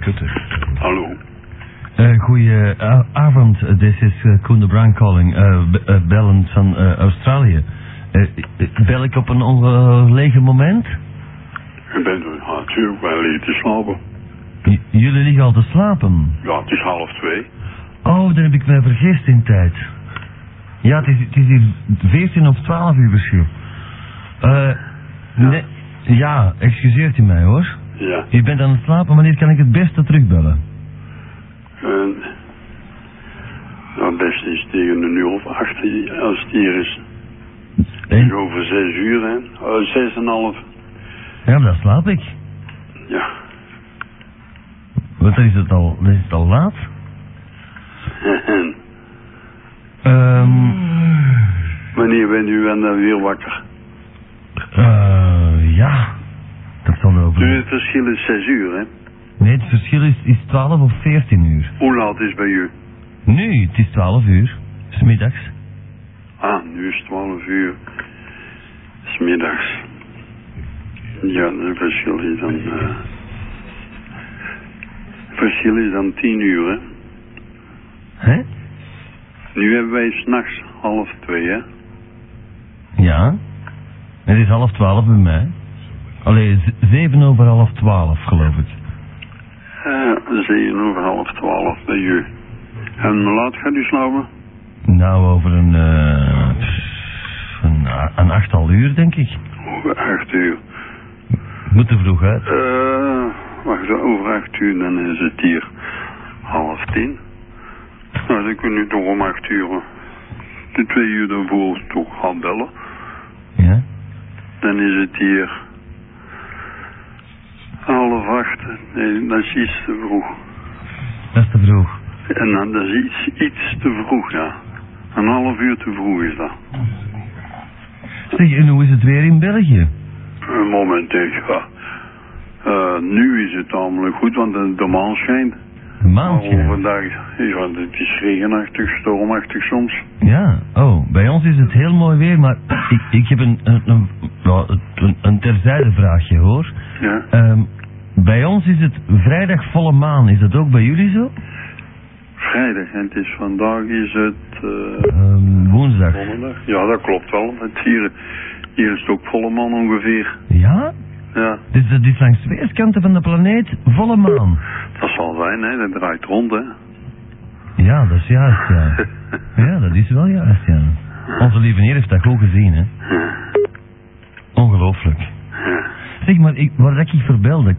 Speaker 1: kutter.
Speaker 11: Hallo.
Speaker 4: Eh goeie eh, avond, Eh, dit is eh, Koen de Bruin calling, eh, b- eh, bellend van eh, Australië. Eh, eh, bel ik op een ongelegen moment?
Speaker 11: U bent ah, er natuurlijk wel liggen te slapen.
Speaker 4: J- jullie liggen al te slapen.
Speaker 11: Ja, het is half twee.
Speaker 4: Oh, daar heb ik mij vergist in tijd. Ja, het is, het is hier 14 of 12 uur verschil. Eh nee, ja, excuseert u mij hoor.
Speaker 11: Ja.
Speaker 4: U bent aan het slapen, wanneer kan ik het beste terugbellen?
Speaker 11: En, nou, het beste is tegen een uur of acht eh, als het hier is.
Speaker 4: En-
Speaker 11: Dus over zes uur, hè? Eh, zes en half.
Speaker 4: Ja, maar dan slaap ik.
Speaker 11: Ja.
Speaker 4: Want dan is het al, dan is het al laat.
Speaker 11: En,
Speaker 4: Ehm
Speaker 11: wanneer bent u dan eh, weer wakker?
Speaker 4: eh ja, dat zal wel
Speaker 11: Nu,
Speaker 4: blijven.
Speaker 11: Dus het verschil is zes uur, hè?
Speaker 4: Nee, het verschil is, is 12 of 14 uur.
Speaker 11: Hoe laat is het bij u?
Speaker 4: Nu, het is 12 uur. Smiddags.
Speaker 11: Ah, nu is het twaalf uur. Smiddags. Ja, het verschil is dan... eh, het verschil is dan tien uur, hè?
Speaker 4: Hè?
Speaker 11: Nu hebben wij s'nachts half twee, hè?
Speaker 4: Ja. Het is half 12 bij mij. Allee, z- 7 over half 12 geloof ik.
Speaker 11: Eh, zeven over half twaalf bij u. En hoe laat gaat u slapen?
Speaker 4: Nou, over een, eh pff, een, a- een achttal uur denk ik.
Speaker 11: Over acht uur.
Speaker 4: Ik Moet er vroeg uit.
Speaker 11: Eh, wacht, over acht uur, dan is het hier half tien. Nou, dan kun je toch om acht uur, eh, de twee uur daarvoor toch gaan bellen.
Speaker 4: Ja.
Speaker 11: Dan is het hier half acht. Nee, dat is iets te vroeg.
Speaker 4: Dat is te vroeg.
Speaker 11: En dan, dat is iets, iets te vroeg, ja. Een half uur te vroeg is dat.
Speaker 4: Zeg, en hoe is het weer in België?
Speaker 11: Een momenteel, ja. Eh, nu is het namelijk goed, want de, de maan schijnt.
Speaker 4: Een
Speaker 2: Oh,
Speaker 4: maandje.
Speaker 11: Overdag is want het is regenachtig, stormachtig soms.
Speaker 4: Ja, oh, bij ons is het heel mooi weer, maar ik, ik heb een, een, een, wel, een, een terzijde vraagje hoor.
Speaker 11: Ja.
Speaker 4: Ehm, bij ons is het vrijdag volle maan, is dat ook bij jullie zo?
Speaker 11: Vrijdag en het is vandaag is het eh,
Speaker 4: Ehm, woensdag.
Speaker 11: donderdag. Ja, dat klopt wel. Het hier, hier is het ook volle man ongeveer.
Speaker 4: Ja?
Speaker 11: Ja,
Speaker 4: Dus dat is langs weerskanten van de planeet volle maan.
Speaker 11: dat zal zijn, hè. Dat draait rond, hè.
Speaker 4: Ja, dat is juist, ja. Ja, dat is wel juist, ja. Onze lieve heer heeft dat goed gezien, hè. Ongelooflijk.
Speaker 11: Ja,
Speaker 4: Zeg maar, ik, waar dat ik verbelde,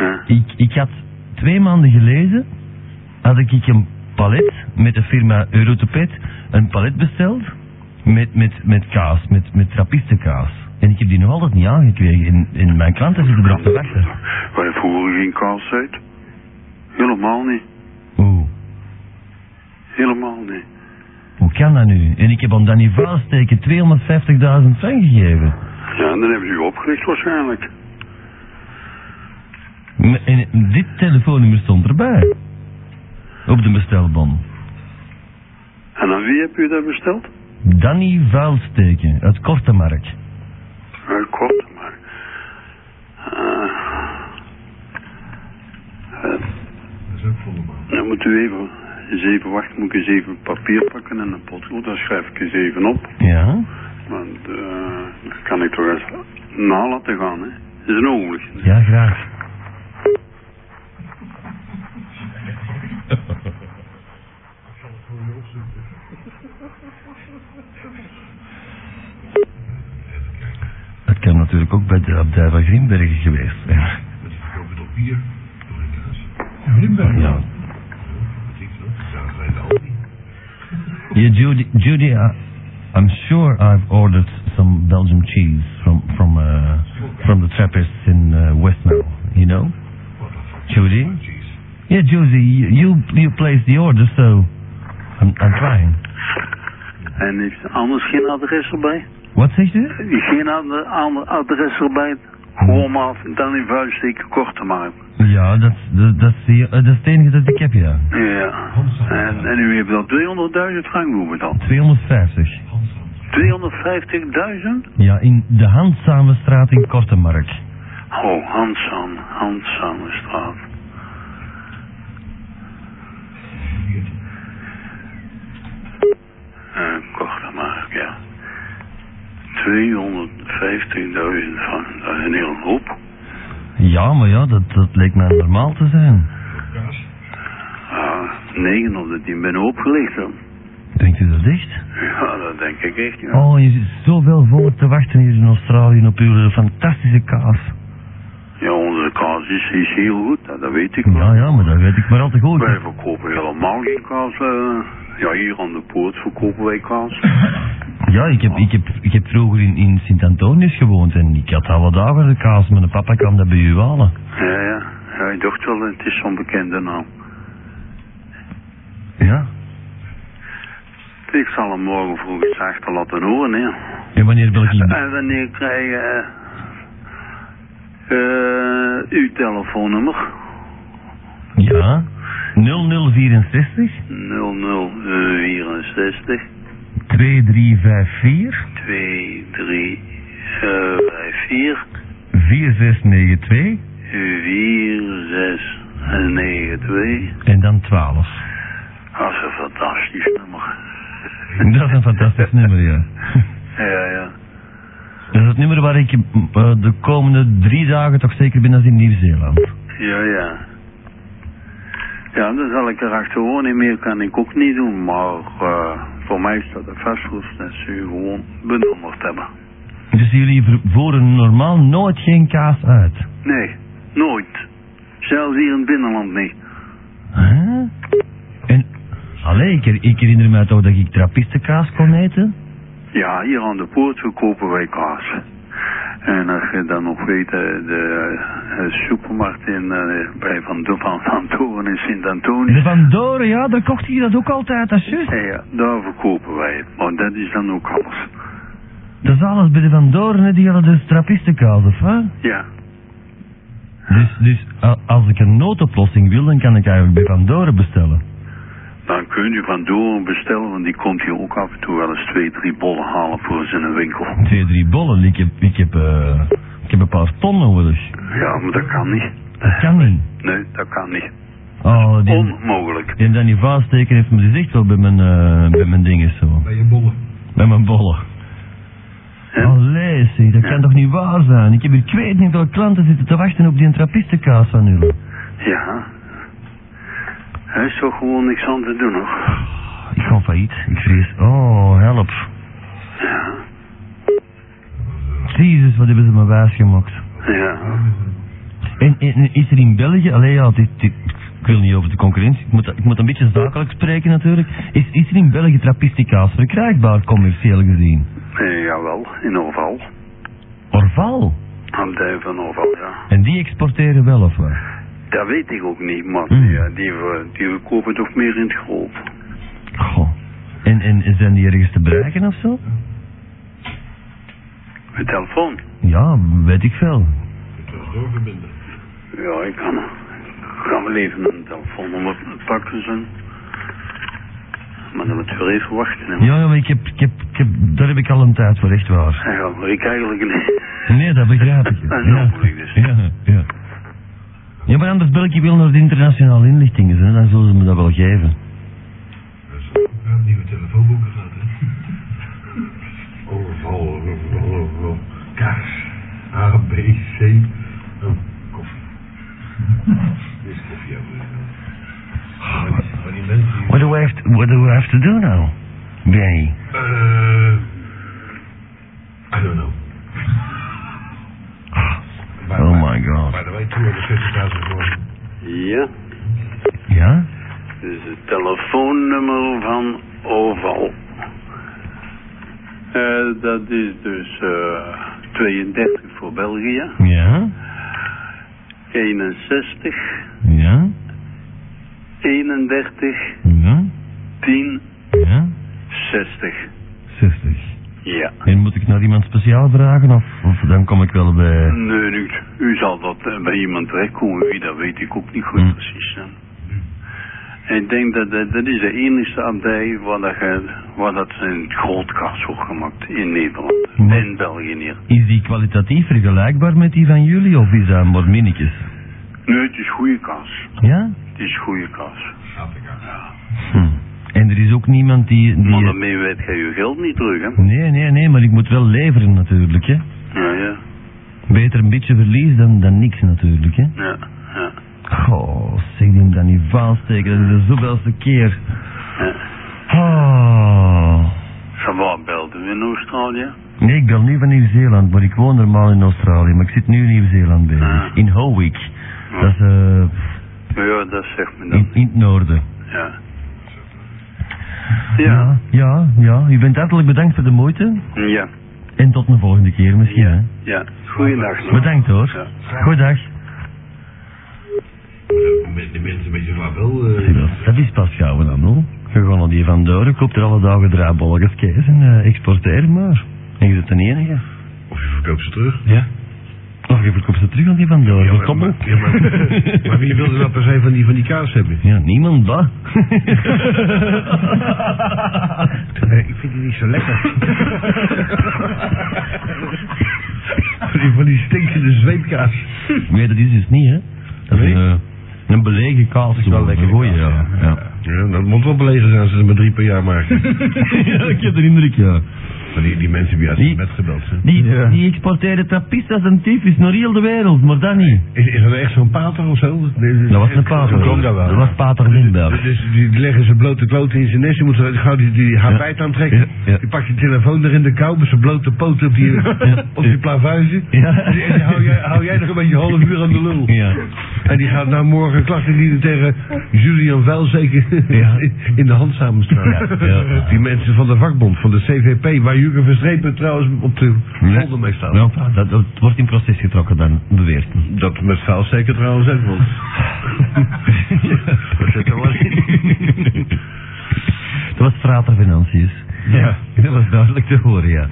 Speaker 11: ja.
Speaker 4: Ik, ik had twee maanden geleden had ik ik een palet met de firma Eurotopet een palet besteld met, met, met kaas, met, met trappistenkaas. En ik heb die nog altijd niet aangekregen. En, en mijn klanten zitten erop te wachten.
Speaker 11: Wij hebben vroeger geen kaas uit. Helemaal niet.
Speaker 4: Oeh,
Speaker 11: Helemaal niet.
Speaker 4: hoe kan dat nu? En ik heb aan Danny Vuilsteken 250.000 frank gegeven.
Speaker 11: Ja, en dan hebben ze u opgericht waarschijnlijk.
Speaker 4: M- En dit telefoonnummer stond erbij. Op de bestelbon.
Speaker 11: En aan wie heb u dat besteld?
Speaker 4: Danny Vuilsteken uit Kortemark.
Speaker 11: Heel kort, maar. eh, eh, dan moet u even, eens even wachten, moet ik eens even papier pakken en een potlood, dan schrijf ik eens even op.
Speaker 4: Ja?
Speaker 11: Want eh, dat kan ik toch eens na laten gaan, hè. Dat is een ogenblik.
Speaker 4: Ja, graag. Het kan natuurlijk ook bij de abdij van Grimbergen geweest zijn.
Speaker 3: Grimbergen.
Speaker 4: Ja. Yeah, Judy, Judy, I, I'm sure I've ordered some Belgian cheese from from uh, from the Trappists in uh, Westmill. You know, Judy. Yeah, Judy, you you, you placed the order, so I'm I'm trying.
Speaker 11: En heeft anders geen adres erbij?
Speaker 4: Wat zegt u?
Speaker 11: Geen ander, ander adres erbij? Gewoon maar dan in vuilsteken kort te maken.
Speaker 4: Ja, dat dat dat is de- eh, dat is het enige dat ik heb, ja.
Speaker 11: Ja. En, en u hebt dan 200.000 frank noemen dan.
Speaker 4: 250.
Speaker 11: 250.000?
Speaker 4: Ja, in de handzame straat in Kortemark.
Speaker 11: Oh, Hansan, Hansanstraat. Eh, van een hele hoop.
Speaker 4: Ja, maar ja, dat, dat leek mij normaal te zijn.
Speaker 11: Ja, negen of dat Ah, die ben opgelegd dan.
Speaker 4: Denkt u dat echt?
Speaker 11: Ja, dat denk ik echt, ja.
Speaker 4: Oh, je zit zoveel voor te wachten hier in Australië op uw eh, fantastische kaas.
Speaker 11: Ja, onze kaas is, is heel goed, dat, dat weet ik wel.
Speaker 4: Ja, ja, maar dat weet ik maar al te goed.
Speaker 11: Wij verkopen helemaal geen kaas. eh. ja, hier aan de poort verkopen wij kaas.
Speaker 4: Ja, ik heb, ik heb, ik heb vroeger in, in Sint-Antonius gewoond en ik had al wat dagen de kaas. Mijn papa kwam dat bij u halen.
Speaker 11: Ja, ja. ja ik dacht wel, het is zo'n bekende naam.
Speaker 4: Ja.
Speaker 11: Ik zal hem morgen vroeg eens achter laten horen, hè.
Speaker 4: En wanneer wil ik... in-
Speaker 11: En wanneer krijg je eh, eh, uw telefoonnummer?
Speaker 4: Ja. 0064
Speaker 11: 0064
Speaker 4: 2354
Speaker 11: 2354
Speaker 4: 4692
Speaker 11: 4692.
Speaker 4: en dan 12.
Speaker 11: Dat is een Ah, fantastisch nummer.
Speaker 4: Dat is een fantastisch nummer, ja.
Speaker 11: Ja, ja.
Speaker 4: Dat is het nummer waar ik eh, de komende drie dagen toch zeker ben als in Nieuw-Zeeland.
Speaker 11: Ja, ja. Ja, dan zal ik erachter wonen. Meer kan ik ook niet doen. Maar eh, voor mij staat het vastgoed dat ze u gewoon benoemd hebben.
Speaker 4: Dus jullie ver- voeren normaal nooit geen kaas uit.
Speaker 11: Nee, nooit. Zelfs hier in het binnenland niet.
Speaker 4: Huh? En, allee, ik, her- ik herinner mij toch dat ik trappistenkaas kon eten?
Speaker 11: Ja, hier aan de poort verkopen wij kaas. En als je dan nog weet, eh, de eh, supermarkt in, eh, bij Van, van, van Toren in Sint-Antonius.
Speaker 4: De Van Doren, ja, daar kocht je dat ook altijd, dat is juist.
Speaker 11: Ja, daar verkopen wij het. Maar dat is dan ook alles.
Speaker 4: Dat is alles bij de Van Doren, hè, die hadden dus trappistenkaas, of hè?
Speaker 11: Ja.
Speaker 4: Dus, dus a- als ik een noodoplossing wil, dan kan ik eigenlijk bij Van Doren bestellen.
Speaker 11: Dan kun je van Doren bestellen, want die komt hier ook af en toe wel eens twee, drie bollen halen voor zijn winkel.
Speaker 4: Twee, drie bollen, ik heb, ik heb, eh, ik heb een paar ton nodig.
Speaker 11: Ja, maar dat kan niet.
Speaker 4: Dat kan niet.
Speaker 11: Nee, dat kan niet.
Speaker 4: Oh, die,
Speaker 11: Onmogelijk.
Speaker 4: die Danny Vaasteken heeft me gezegd wel bij mijn, eh, bij mijn dingen zo.
Speaker 3: Bij je bollen.
Speaker 4: Bij mijn bollen.
Speaker 11: Hè?
Speaker 4: Allee, zeg, dat kan toch niet waar zijn? Ik heb hier ik weet niet hoeveel klanten zitten te wachten op die trappistenkaas van u.
Speaker 11: Ja. Er is toch gewoon niks aan te doen, hoor.
Speaker 4: Ik ga failliet, ik vrees. Oh, help. Jezus, wat hebben ze me wijs gemaakt.
Speaker 11: Ja.
Speaker 4: En, en is er in België, alleen ja, dit, dit- ik wil niet over de concurrentie, ik moet, ik moet een beetje zakelijk spreken natuurlijk. Is, is er in België trappistenkaas verkrijgbaar, commercieel gezien?
Speaker 11: Eh, jawel, in Orval.
Speaker 4: Orval.
Speaker 11: Aan de van Orval, ja.
Speaker 4: En die exporteren wel of wat?
Speaker 11: Dat weet ik ook niet, maar
Speaker 4: Hmm.
Speaker 11: die, eh, die, we- die we kopen toch meer in het groot.
Speaker 4: Goh. En, en zijn die ergens te bereiken of zo?
Speaker 11: Met telefoon.
Speaker 4: Ja, weet ik veel.
Speaker 11: Ja, ik kan. Ik ga wel even mijn telefoonnummer pakken zo. Maar dan moet je weer even wachten. hè.
Speaker 4: Ja, ja, maar ik heb, ik heb, ik heb, daar heb ik al een tijd voor, echt waar.
Speaker 11: Ja, maar ik eigenlijk niet.
Speaker 4: Nee, dat begrijp ik.
Speaker 11: Dat is
Speaker 4: ja.
Speaker 11: mogelijk dus.
Speaker 4: ja, ja. Ja, maar anders bel ik je wel naar de internationale inlichtingen, hè. dan zullen ze me dat wel geven.
Speaker 3: Ja, nieuwe telefoonboeken gehad, hè? Overval, overval, overval. Kaas. A, B, C. Oh, koffie. Dit is koffie, ja. maar- Maar die- maar Ah, die mensen die-
Speaker 4: What do I have to, what do I have to do now? Benny.
Speaker 3: Eh, I don't know. Maar-
Speaker 4: Oh
Speaker 3: maar-
Speaker 4: my god.
Speaker 3: Maar dan weet je 250.000 voor.
Speaker 11: Ja,
Speaker 4: Ja?
Speaker 11: dus het telefoonnummer van Oval. Eh, dat is dus eh 32 voor België,
Speaker 4: Ja?
Speaker 11: 61,
Speaker 4: Ja?
Speaker 11: 31,
Speaker 4: Ja?
Speaker 11: 10,
Speaker 4: Ja?
Speaker 11: 60.
Speaker 4: 60.
Speaker 11: Ja.
Speaker 4: En moet ik naar iemand speciaal vragen of, of dan kom ik wel bij...
Speaker 11: Nee, u, u zal dat eh, bij iemand terechtkomen, wie dat weet ik ook niet goed
Speaker 4: Hm.
Speaker 11: precies. hè. Ik denk dat dat, dat is de enige abdij waar dat, ge- waar dat een grootkaas wordt gemaakt in Nederland.
Speaker 4: Hm.
Speaker 11: En België hier.
Speaker 4: Is die kwalitatief vergelijkbaar met die van jullie of is dat maar minnetjes?
Speaker 11: Nee, het is goede kaas.
Speaker 4: Ja?
Speaker 11: Het is goede kaas.
Speaker 4: Hm. En er is ook niemand die... die
Speaker 11: Maar daarmee weet jij je geld niet terug, hè?
Speaker 4: Nee, nee, nee, maar ik moet wel leveren natuurlijk, hè.
Speaker 11: Ja, ja.
Speaker 4: Beter een beetje verlies dan, dan niks natuurlijk, hè.
Speaker 11: Ja, ja.
Speaker 4: Goh, zeg die hem dan niet vaststeken, dat is de zoveelste keer.
Speaker 11: Ja.
Speaker 4: Oh.
Speaker 11: Van waar belde u in Australië?
Speaker 4: Nee, ik bel nu van Nieuw-Zeeland, maar ik woon normaal in Australië, maar ik zit nu in Nieuw-Zeeland bezig.
Speaker 11: Ah.
Speaker 4: In Howick. Dat is eh,
Speaker 11: Ja, dat zegt me
Speaker 4: in,
Speaker 11: dan.
Speaker 4: in het noorden.
Speaker 11: Ja. Ja,
Speaker 4: Ja, ja. U bent hartelijk bedankt voor de moeite.
Speaker 11: ja,
Speaker 4: En tot een volgende keer misschien, hè.
Speaker 11: ja. Goeiedag nog.
Speaker 4: Bedankt hoor. Goeiedag.
Speaker 3: De mensen met je label. eh,
Speaker 4: Dat is pas gauw dan, hoor. Je gaat naar die van Duren, koopt er alle dagen draaibolletjes kees en eh, exporteer maar. En je bent de enige.
Speaker 3: Of je verkoopt ze terug.
Speaker 4: Ja. Of je verkoopt ze terug aan die van Duren.
Speaker 3: maar, maar- ja, maar, maar wie wilde nou per se van die, van die kaas hebben?
Speaker 4: Ja, niemand, bah.
Speaker 3: Eh,
Speaker 1: Nee, ik vind die niet zo lekker. van, die, van die stinkende zweepkaas.
Speaker 4: Nee, dat is dus niet, hè. Dat is
Speaker 1: Nee?
Speaker 4: een, eh, een belegen kaas.
Speaker 1: is wel
Speaker 4: gewoon,
Speaker 1: lekker
Speaker 4: een goeie, ja. ja.
Speaker 1: Ja, dat moet wel belegen zijn als ze er maar drie per jaar maken.
Speaker 4: ja, ik heb de indruk, ja.
Speaker 1: Maar die, die mensen die uit
Speaker 4: Die-
Speaker 1: het bed gebeld zijn.
Speaker 4: Die, die exporteren trapistas en tyfus naar heel de wereld, maar dat niet.
Speaker 1: Is, is dat echt zo'n pater of zo?
Speaker 4: Dat was een pater.
Speaker 1: Hoe komt dat wel?
Speaker 4: was pater Lindbergh.
Speaker 1: Dus die leggen ze blote kloten in zijn nest. Die moeten gauw die, die habit aantrekken.
Speaker 4: Ja, ja.
Speaker 1: Die pakt je telefoon er in de kou met zijn blote poten op die, op die plavuizen.
Speaker 4: Ja.
Speaker 1: En die hou jij, hou jij nog een beetje half uur aan de lul.
Speaker 4: Ja.
Speaker 1: En die gaat nou morgen klachten dienen tegen Julian Vel zeker
Speaker 4: Ja.
Speaker 1: in de hand samenstaan.
Speaker 4: Ja, ja.
Speaker 1: Die mensen van de vakbond, van de CVP, waar Jurgen Verstrepen trouwens op de
Speaker 4: Nee.
Speaker 1: zolder mee staat.
Speaker 4: Nou, dat, dat wordt in proces getrokken dan, beweert men.
Speaker 1: Dat met vuil zeker trouwens ook, want... Dat zit er wel in.
Speaker 4: Dat was Frater Financiers.
Speaker 1: Ja.
Speaker 4: Dat was duidelijk te horen, ja.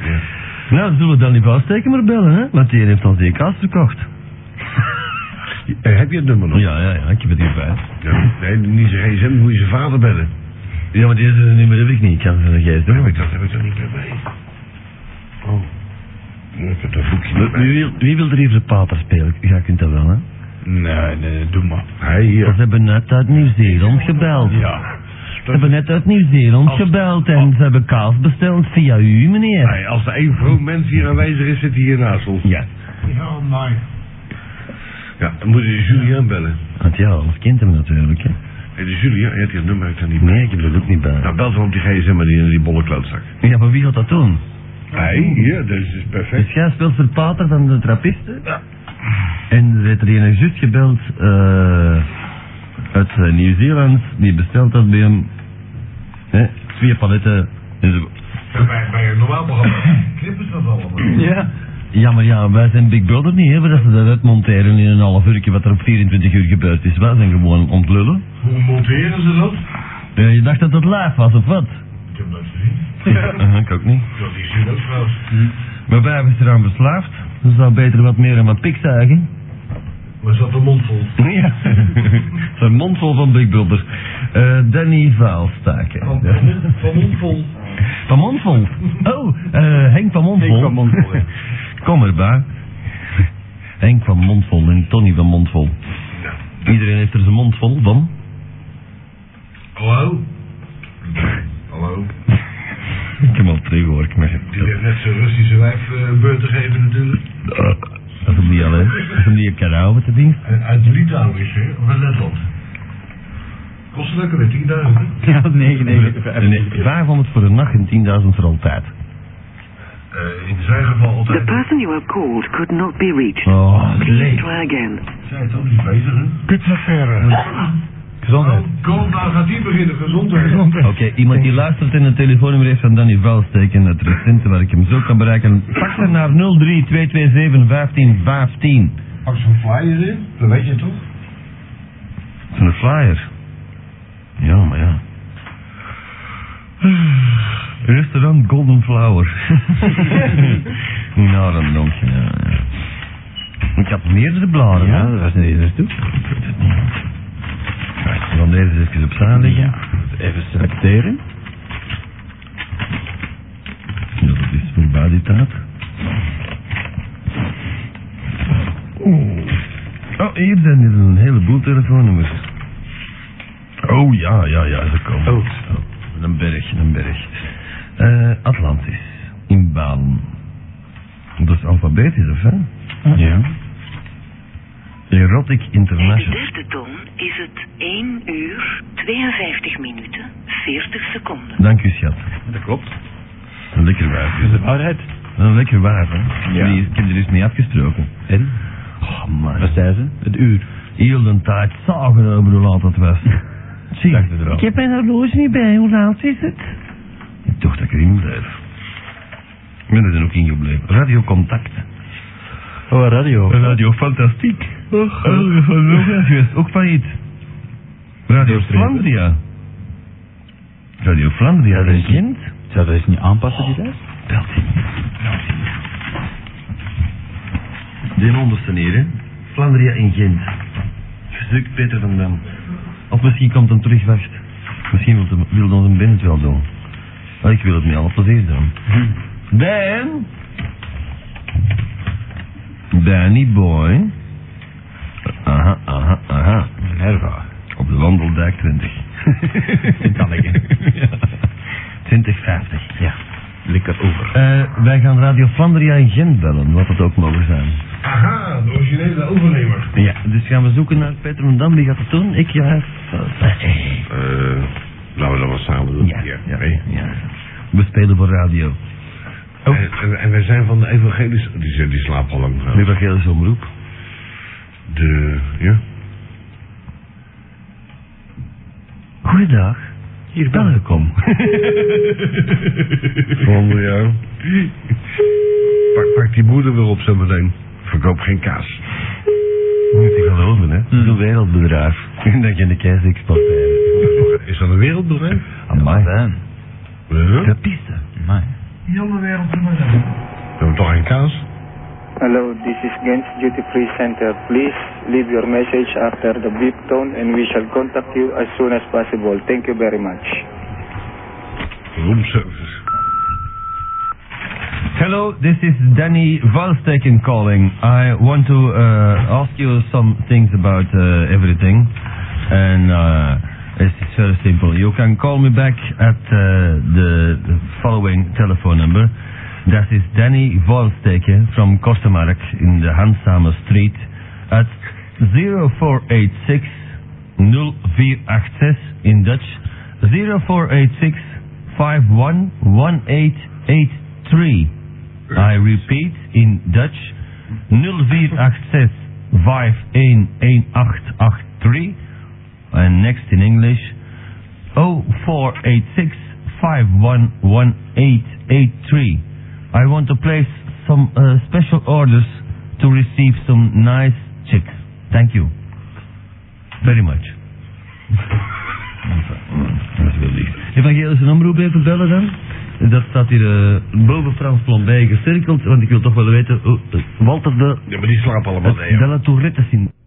Speaker 4: Nou, zullen we dan die vaststeken maar bellen, hè? Want die heeft al die kaas verkocht.
Speaker 1: Eh, Heb je het nummer nog?
Speaker 4: Ja, ja, ja, ik heb het hier bij.
Speaker 1: Ja, Nee, niet zijn gsm, moet je zijn vader bellen.
Speaker 4: Ja, maar deze nummer heb ik niet. Ik kan van de geest
Speaker 1: Heb ik dat, heb ik dat niet meer mee. Oh. Ja, Ik heb dat boekje niet
Speaker 4: Wie
Speaker 1: bij.
Speaker 4: wil, wie wil er even de pater spelen? Ja, kunt dat wel, hè?
Speaker 3: Nee, nee, doe maar.
Speaker 1: Hij
Speaker 4: Ze
Speaker 1: hier.
Speaker 4: hebben net uit Nieuw-Zeeland gebeld.
Speaker 3: Ja.
Speaker 4: Ze hebben net uit Nieuw-Zeeland gebeld en ze hebben kaas besteld via u, meneer.
Speaker 1: Nee, als er één vroom mens hier aanwezig is, zit hij hier naast ons.
Speaker 4: Ja.
Speaker 3: Ja, nee.
Speaker 1: Ja, dan moet je Julian bellen.
Speaker 4: Ah, Want ja, ons kent hem natuurlijk, hè.
Speaker 1: Hey, de Julian, heeft die nummer ik daar niet bij.
Speaker 4: Nee, ik heb dat ook niet bij.
Speaker 1: Nou, bel dan op die gsm maar die, die bolle klootzak.
Speaker 4: Ja, maar wie gaat dat doen?
Speaker 1: Hij, hier, dus is perfect.
Speaker 4: Dus jij speelt voor pater van de trappisten? Ja. En er werd er een juist gebeld eh, uit eh, Nieuw-Zeeland, die besteld had bij hem. Hè, twee paletten. En zo.
Speaker 3: Bij, bij een normaal programma knippen ze dat allemaal.
Speaker 4: Ja. Ja, maar ja, wij zijn Big Brother niet, hè, dat ze dat uitmonteren in een half uurtje wat er op 24 uur gebeurd is. Wij zijn gewoon ontlullen.
Speaker 3: Hoe monteren ze dat?
Speaker 4: Eh, je dacht dat het live was, of wat?
Speaker 3: Ik heb dat gezien.
Speaker 4: Eh, ik ook niet.
Speaker 3: Dat is hier ook trouwens.
Speaker 4: Maar wij hebben ze eraan verslaafd. Ze zou beter wat meer aan mijn pik zuigen.
Speaker 3: Maar zat de mond vol.
Speaker 4: Ja, zijn mond vol van Big Brother. Eh, Danny Vaalstaken.
Speaker 3: Van, van, mond- van mond vol.
Speaker 4: Van Mondvol? Oh, eh, Henk van Mondvol.
Speaker 3: Henk van Mondvol, ja.
Speaker 4: Kom er, ba. Henk van Mondvol en Tony van Mondvol. Iedereen heeft er zijn mond vol van.
Speaker 3: Hallo? Hallo?
Speaker 4: Ik heb al terug hoor, ik merk het.
Speaker 3: Die heeft net zijn Russische wijf eh, een beurt te geven natuurlijk.
Speaker 4: Dat is hem niet alleen. Dat is hem niet op kanaal met de ding.
Speaker 3: En uit Litouwen is ze, of uit Letland. Kost het lekker weer 10.000. hè?
Speaker 2: Ja, 99.
Speaker 4: Nee, 500 voor de nacht en 10.000 voor altijd.
Speaker 3: Eh, in zijn geval
Speaker 6: The
Speaker 3: altijd.
Speaker 6: person you have called could not be reached.
Speaker 4: Oh,
Speaker 6: Please
Speaker 4: leeg.
Speaker 6: try again.
Speaker 3: Zij het ook niet bezig, hè?
Speaker 2: Gezondheid.
Speaker 3: Oh, kom, nou gaat die beginnen. Gezondheid.
Speaker 4: Oké, iemand die luistert en het telefoonnummer heeft van Danny Valsteek en het recente waar ik hem zo kan bereiken, pak ze naar 03 227 1515.
Speaker 3: Pak zo'n flyer in, dat weet je toch?
Speaker 4: Van de flyer. Ja, maar ja. Restaurant Golden Flower. nou, dan denk je. ja, ja. Ik had meerdere bladen, hè?
Speaker 2: dat was niet eens toe.
Speaker 4: Wacht, Dan deze eens even opzij liggen.
Speaker 2: Even selecteren.
Speaker 4: Ja, dat is voor bodytaat. Oh, hier zijn er een heleboel telefoonnummers. Oh ja, ja, ja, ze komen. Oh. een berg, een berg. Eh, Atlantis, in Baal. Dat is alfabetisch, of hè? Ja. Erotic
Speaker 6: Bij de
Speaker 4: International.
Speaker 6: derde toon is het 1 uur 52 minuten 40 seconden.
Speaker 4: Dank u, schat.
Speaker 12: Dat klopt.
Speaker 4: Een lekker wijf. is de waarheid. Een lekker wijf, hè?
Speaker 12: Ja.
Speaker 4: Die- ik heb er dus mee afgesproken. En? Oh, man. Wat zei ze? Het uur. Heel de tijd zagen we hoe laat het was. Zie, ik heb
Speaker 13: mijn horloge niet bij. Hoe laat is het?
Speaker 4: Ik dacht dat ik erin bleef. Ik ben er dan ook in gebleven. Radio Contact. Oh, radio. Oh, Radio Fantastiek. Och, radio is ook failliet. Radio Flandria. Radio Flandria, dat is kind.
Speaker 12: Zou dat eens niet aanpassen, die lijst?
Speaker 4: De onderste neer, hè. Flandria in Gent. Verzoek Peter van Dam. Of misschien komt hem terug, wacht. Misschien wil, de, wil onze Ben het wel doen. Maar ik wil het met alle plezier doen. Dan? Danny Boy. Aha, aha, aha. Nerva. Op de wandeldijk 20. kan ik, 2050. Ja. Lekker over. Eh, wij gaan Radio Flandria in Gent bellen, wat het ook mogen zijn.
Speaker 1: Aha, de originele overnemer.
Speaker 4: Ja, dus gaan we zoeken naar Peter van Dam. Wie gaat het doen? Ik, ja.
Speaker 3: Eh, laten we dat wel samen doen. Ja, ja,
Speaker 4: We spelen voor radio. Oh.
Speaker 1: En, en, en wij zijn van de evangelische... Die, zijn- die slapen al lang. De
Speaker 4: evangelische omroep?
Speaker 1: De... Ja?
Speaker 4: Goeiedag. Hier ben ik om.
Speaker 1: Volgende jaar. Pak, pak die moeder weer op zo meteen. Verkoop geen kaas. Hmm.
Speaker 4: Moet je geloven, hè? Dat is een wereldbedrijf. Ik denk in de keizerexportij.
Speaker 1: Is dat een wereldbedrijf?
Speaker 4: Amai.
Speaker 1: Ja.
Speaker 4: piste.
Speaker 14: Heel de wereld doen we dat.
Speaker 1: We hebben toch geen kaas?
Speaker 15: Hello, this is Gens Duty Free Center. Please leave your message after the beep tone and we shall contact you as soon as possible. Thank you very much.
Speaker 1: Roomservice.
Speaker 4: Hello, this is Danny Valsteken calling. I want to uh, ask you some things about uh, everything. And uh, it's very simple. You can call me back at uh, the the following telephone number. That is Danny Valsteken from Kostemark in the Hansame Street at 0486 0486 in Dutch 0486 511883. I repeat in Dutch 0486 511883 and next in English 0486 511883. I want to place some uh, special orders to receive some nice chicks. Thank you very much. Evangelische omroep even bellen dan. Dat staat hier eh, boven Frans Plombay gecirkeld, want ik wil toch wel weten. hoe- eh, Walter de.
Speaker 1: Ja, maar die slapen allemaal
Speaker 4: Della Tourette syndroom.